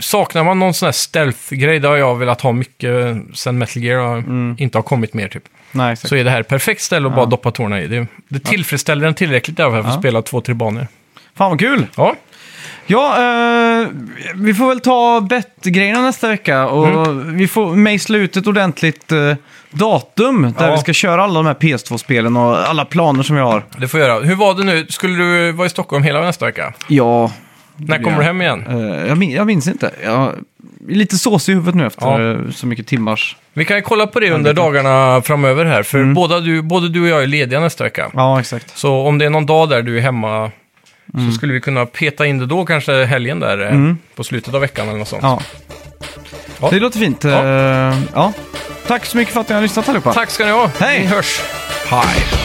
Speaker 2: saknar man någon sån här stealth-grej, det har jag velat ha mycket sen Metal Gear har
Speaker 1: Mm.
Speaker 2: inte har kommit mer typ.
Speaker 1: Nej, exakt.
Speaker 2: Så är det här ett perfekt ställe att bara doppa tårna i. Det, det tillfredsställer den tillräckligt i alla fall för att
Speaker 1: Ja.
Speaker 2: spela två, tre banor.
Speaker 1: Fan vad kul!
Speaker 2: Ja,
Speaker 1: Ja, eh, vi får väl ta bettgrejerna nästa vecka och vi får mejsla ut ett ordentligt eh, datum där
Speaker 2: Ja.
Speaker 1: vi ska köra alla de här PS2-spelen och alla planer som jag har.
Speaker 2: det får jag göra. Hur var det nu? Skulle du vara i Stockholm hela nästa vecka?
Speaker 1: Ja,
Speaker 2: När kommer du hem igen?
Speaker 1: eh, jag, min- jag minns inte. Jag är lite såsig i huvudet nu efter
Speaker 2: Ja.
Speaker 1: eh, så mycket timmars...
Speaker 2: Vi kan ju kolla på det under dagarna framöver här, för
Speaker 1: Mm.
Speaker 2: båda du, både du och jag är lediga nästa vecka.
Speaker 1: Ja, exakt.
Speaker 2: Så om det är någon dag där du är hemma
Speaker 1: Mm.
Speaker 2: så skulle vi kunna peta in det då, kanske helgen där eh, på slutet av veckan eller något sånt.
Speaker 1: Ja.
Speaker 2: Ja.
Speaker 1: Det låter fint.
Speaker 2: Ja.
Speaker 1: Eh, ja. Tack så mycket för att ni har lyssnat allihopa.
Speaker 2: Tack ska ni ha!
Speaker 1: Hej!
Speaker 2: Vi hörs! Hej!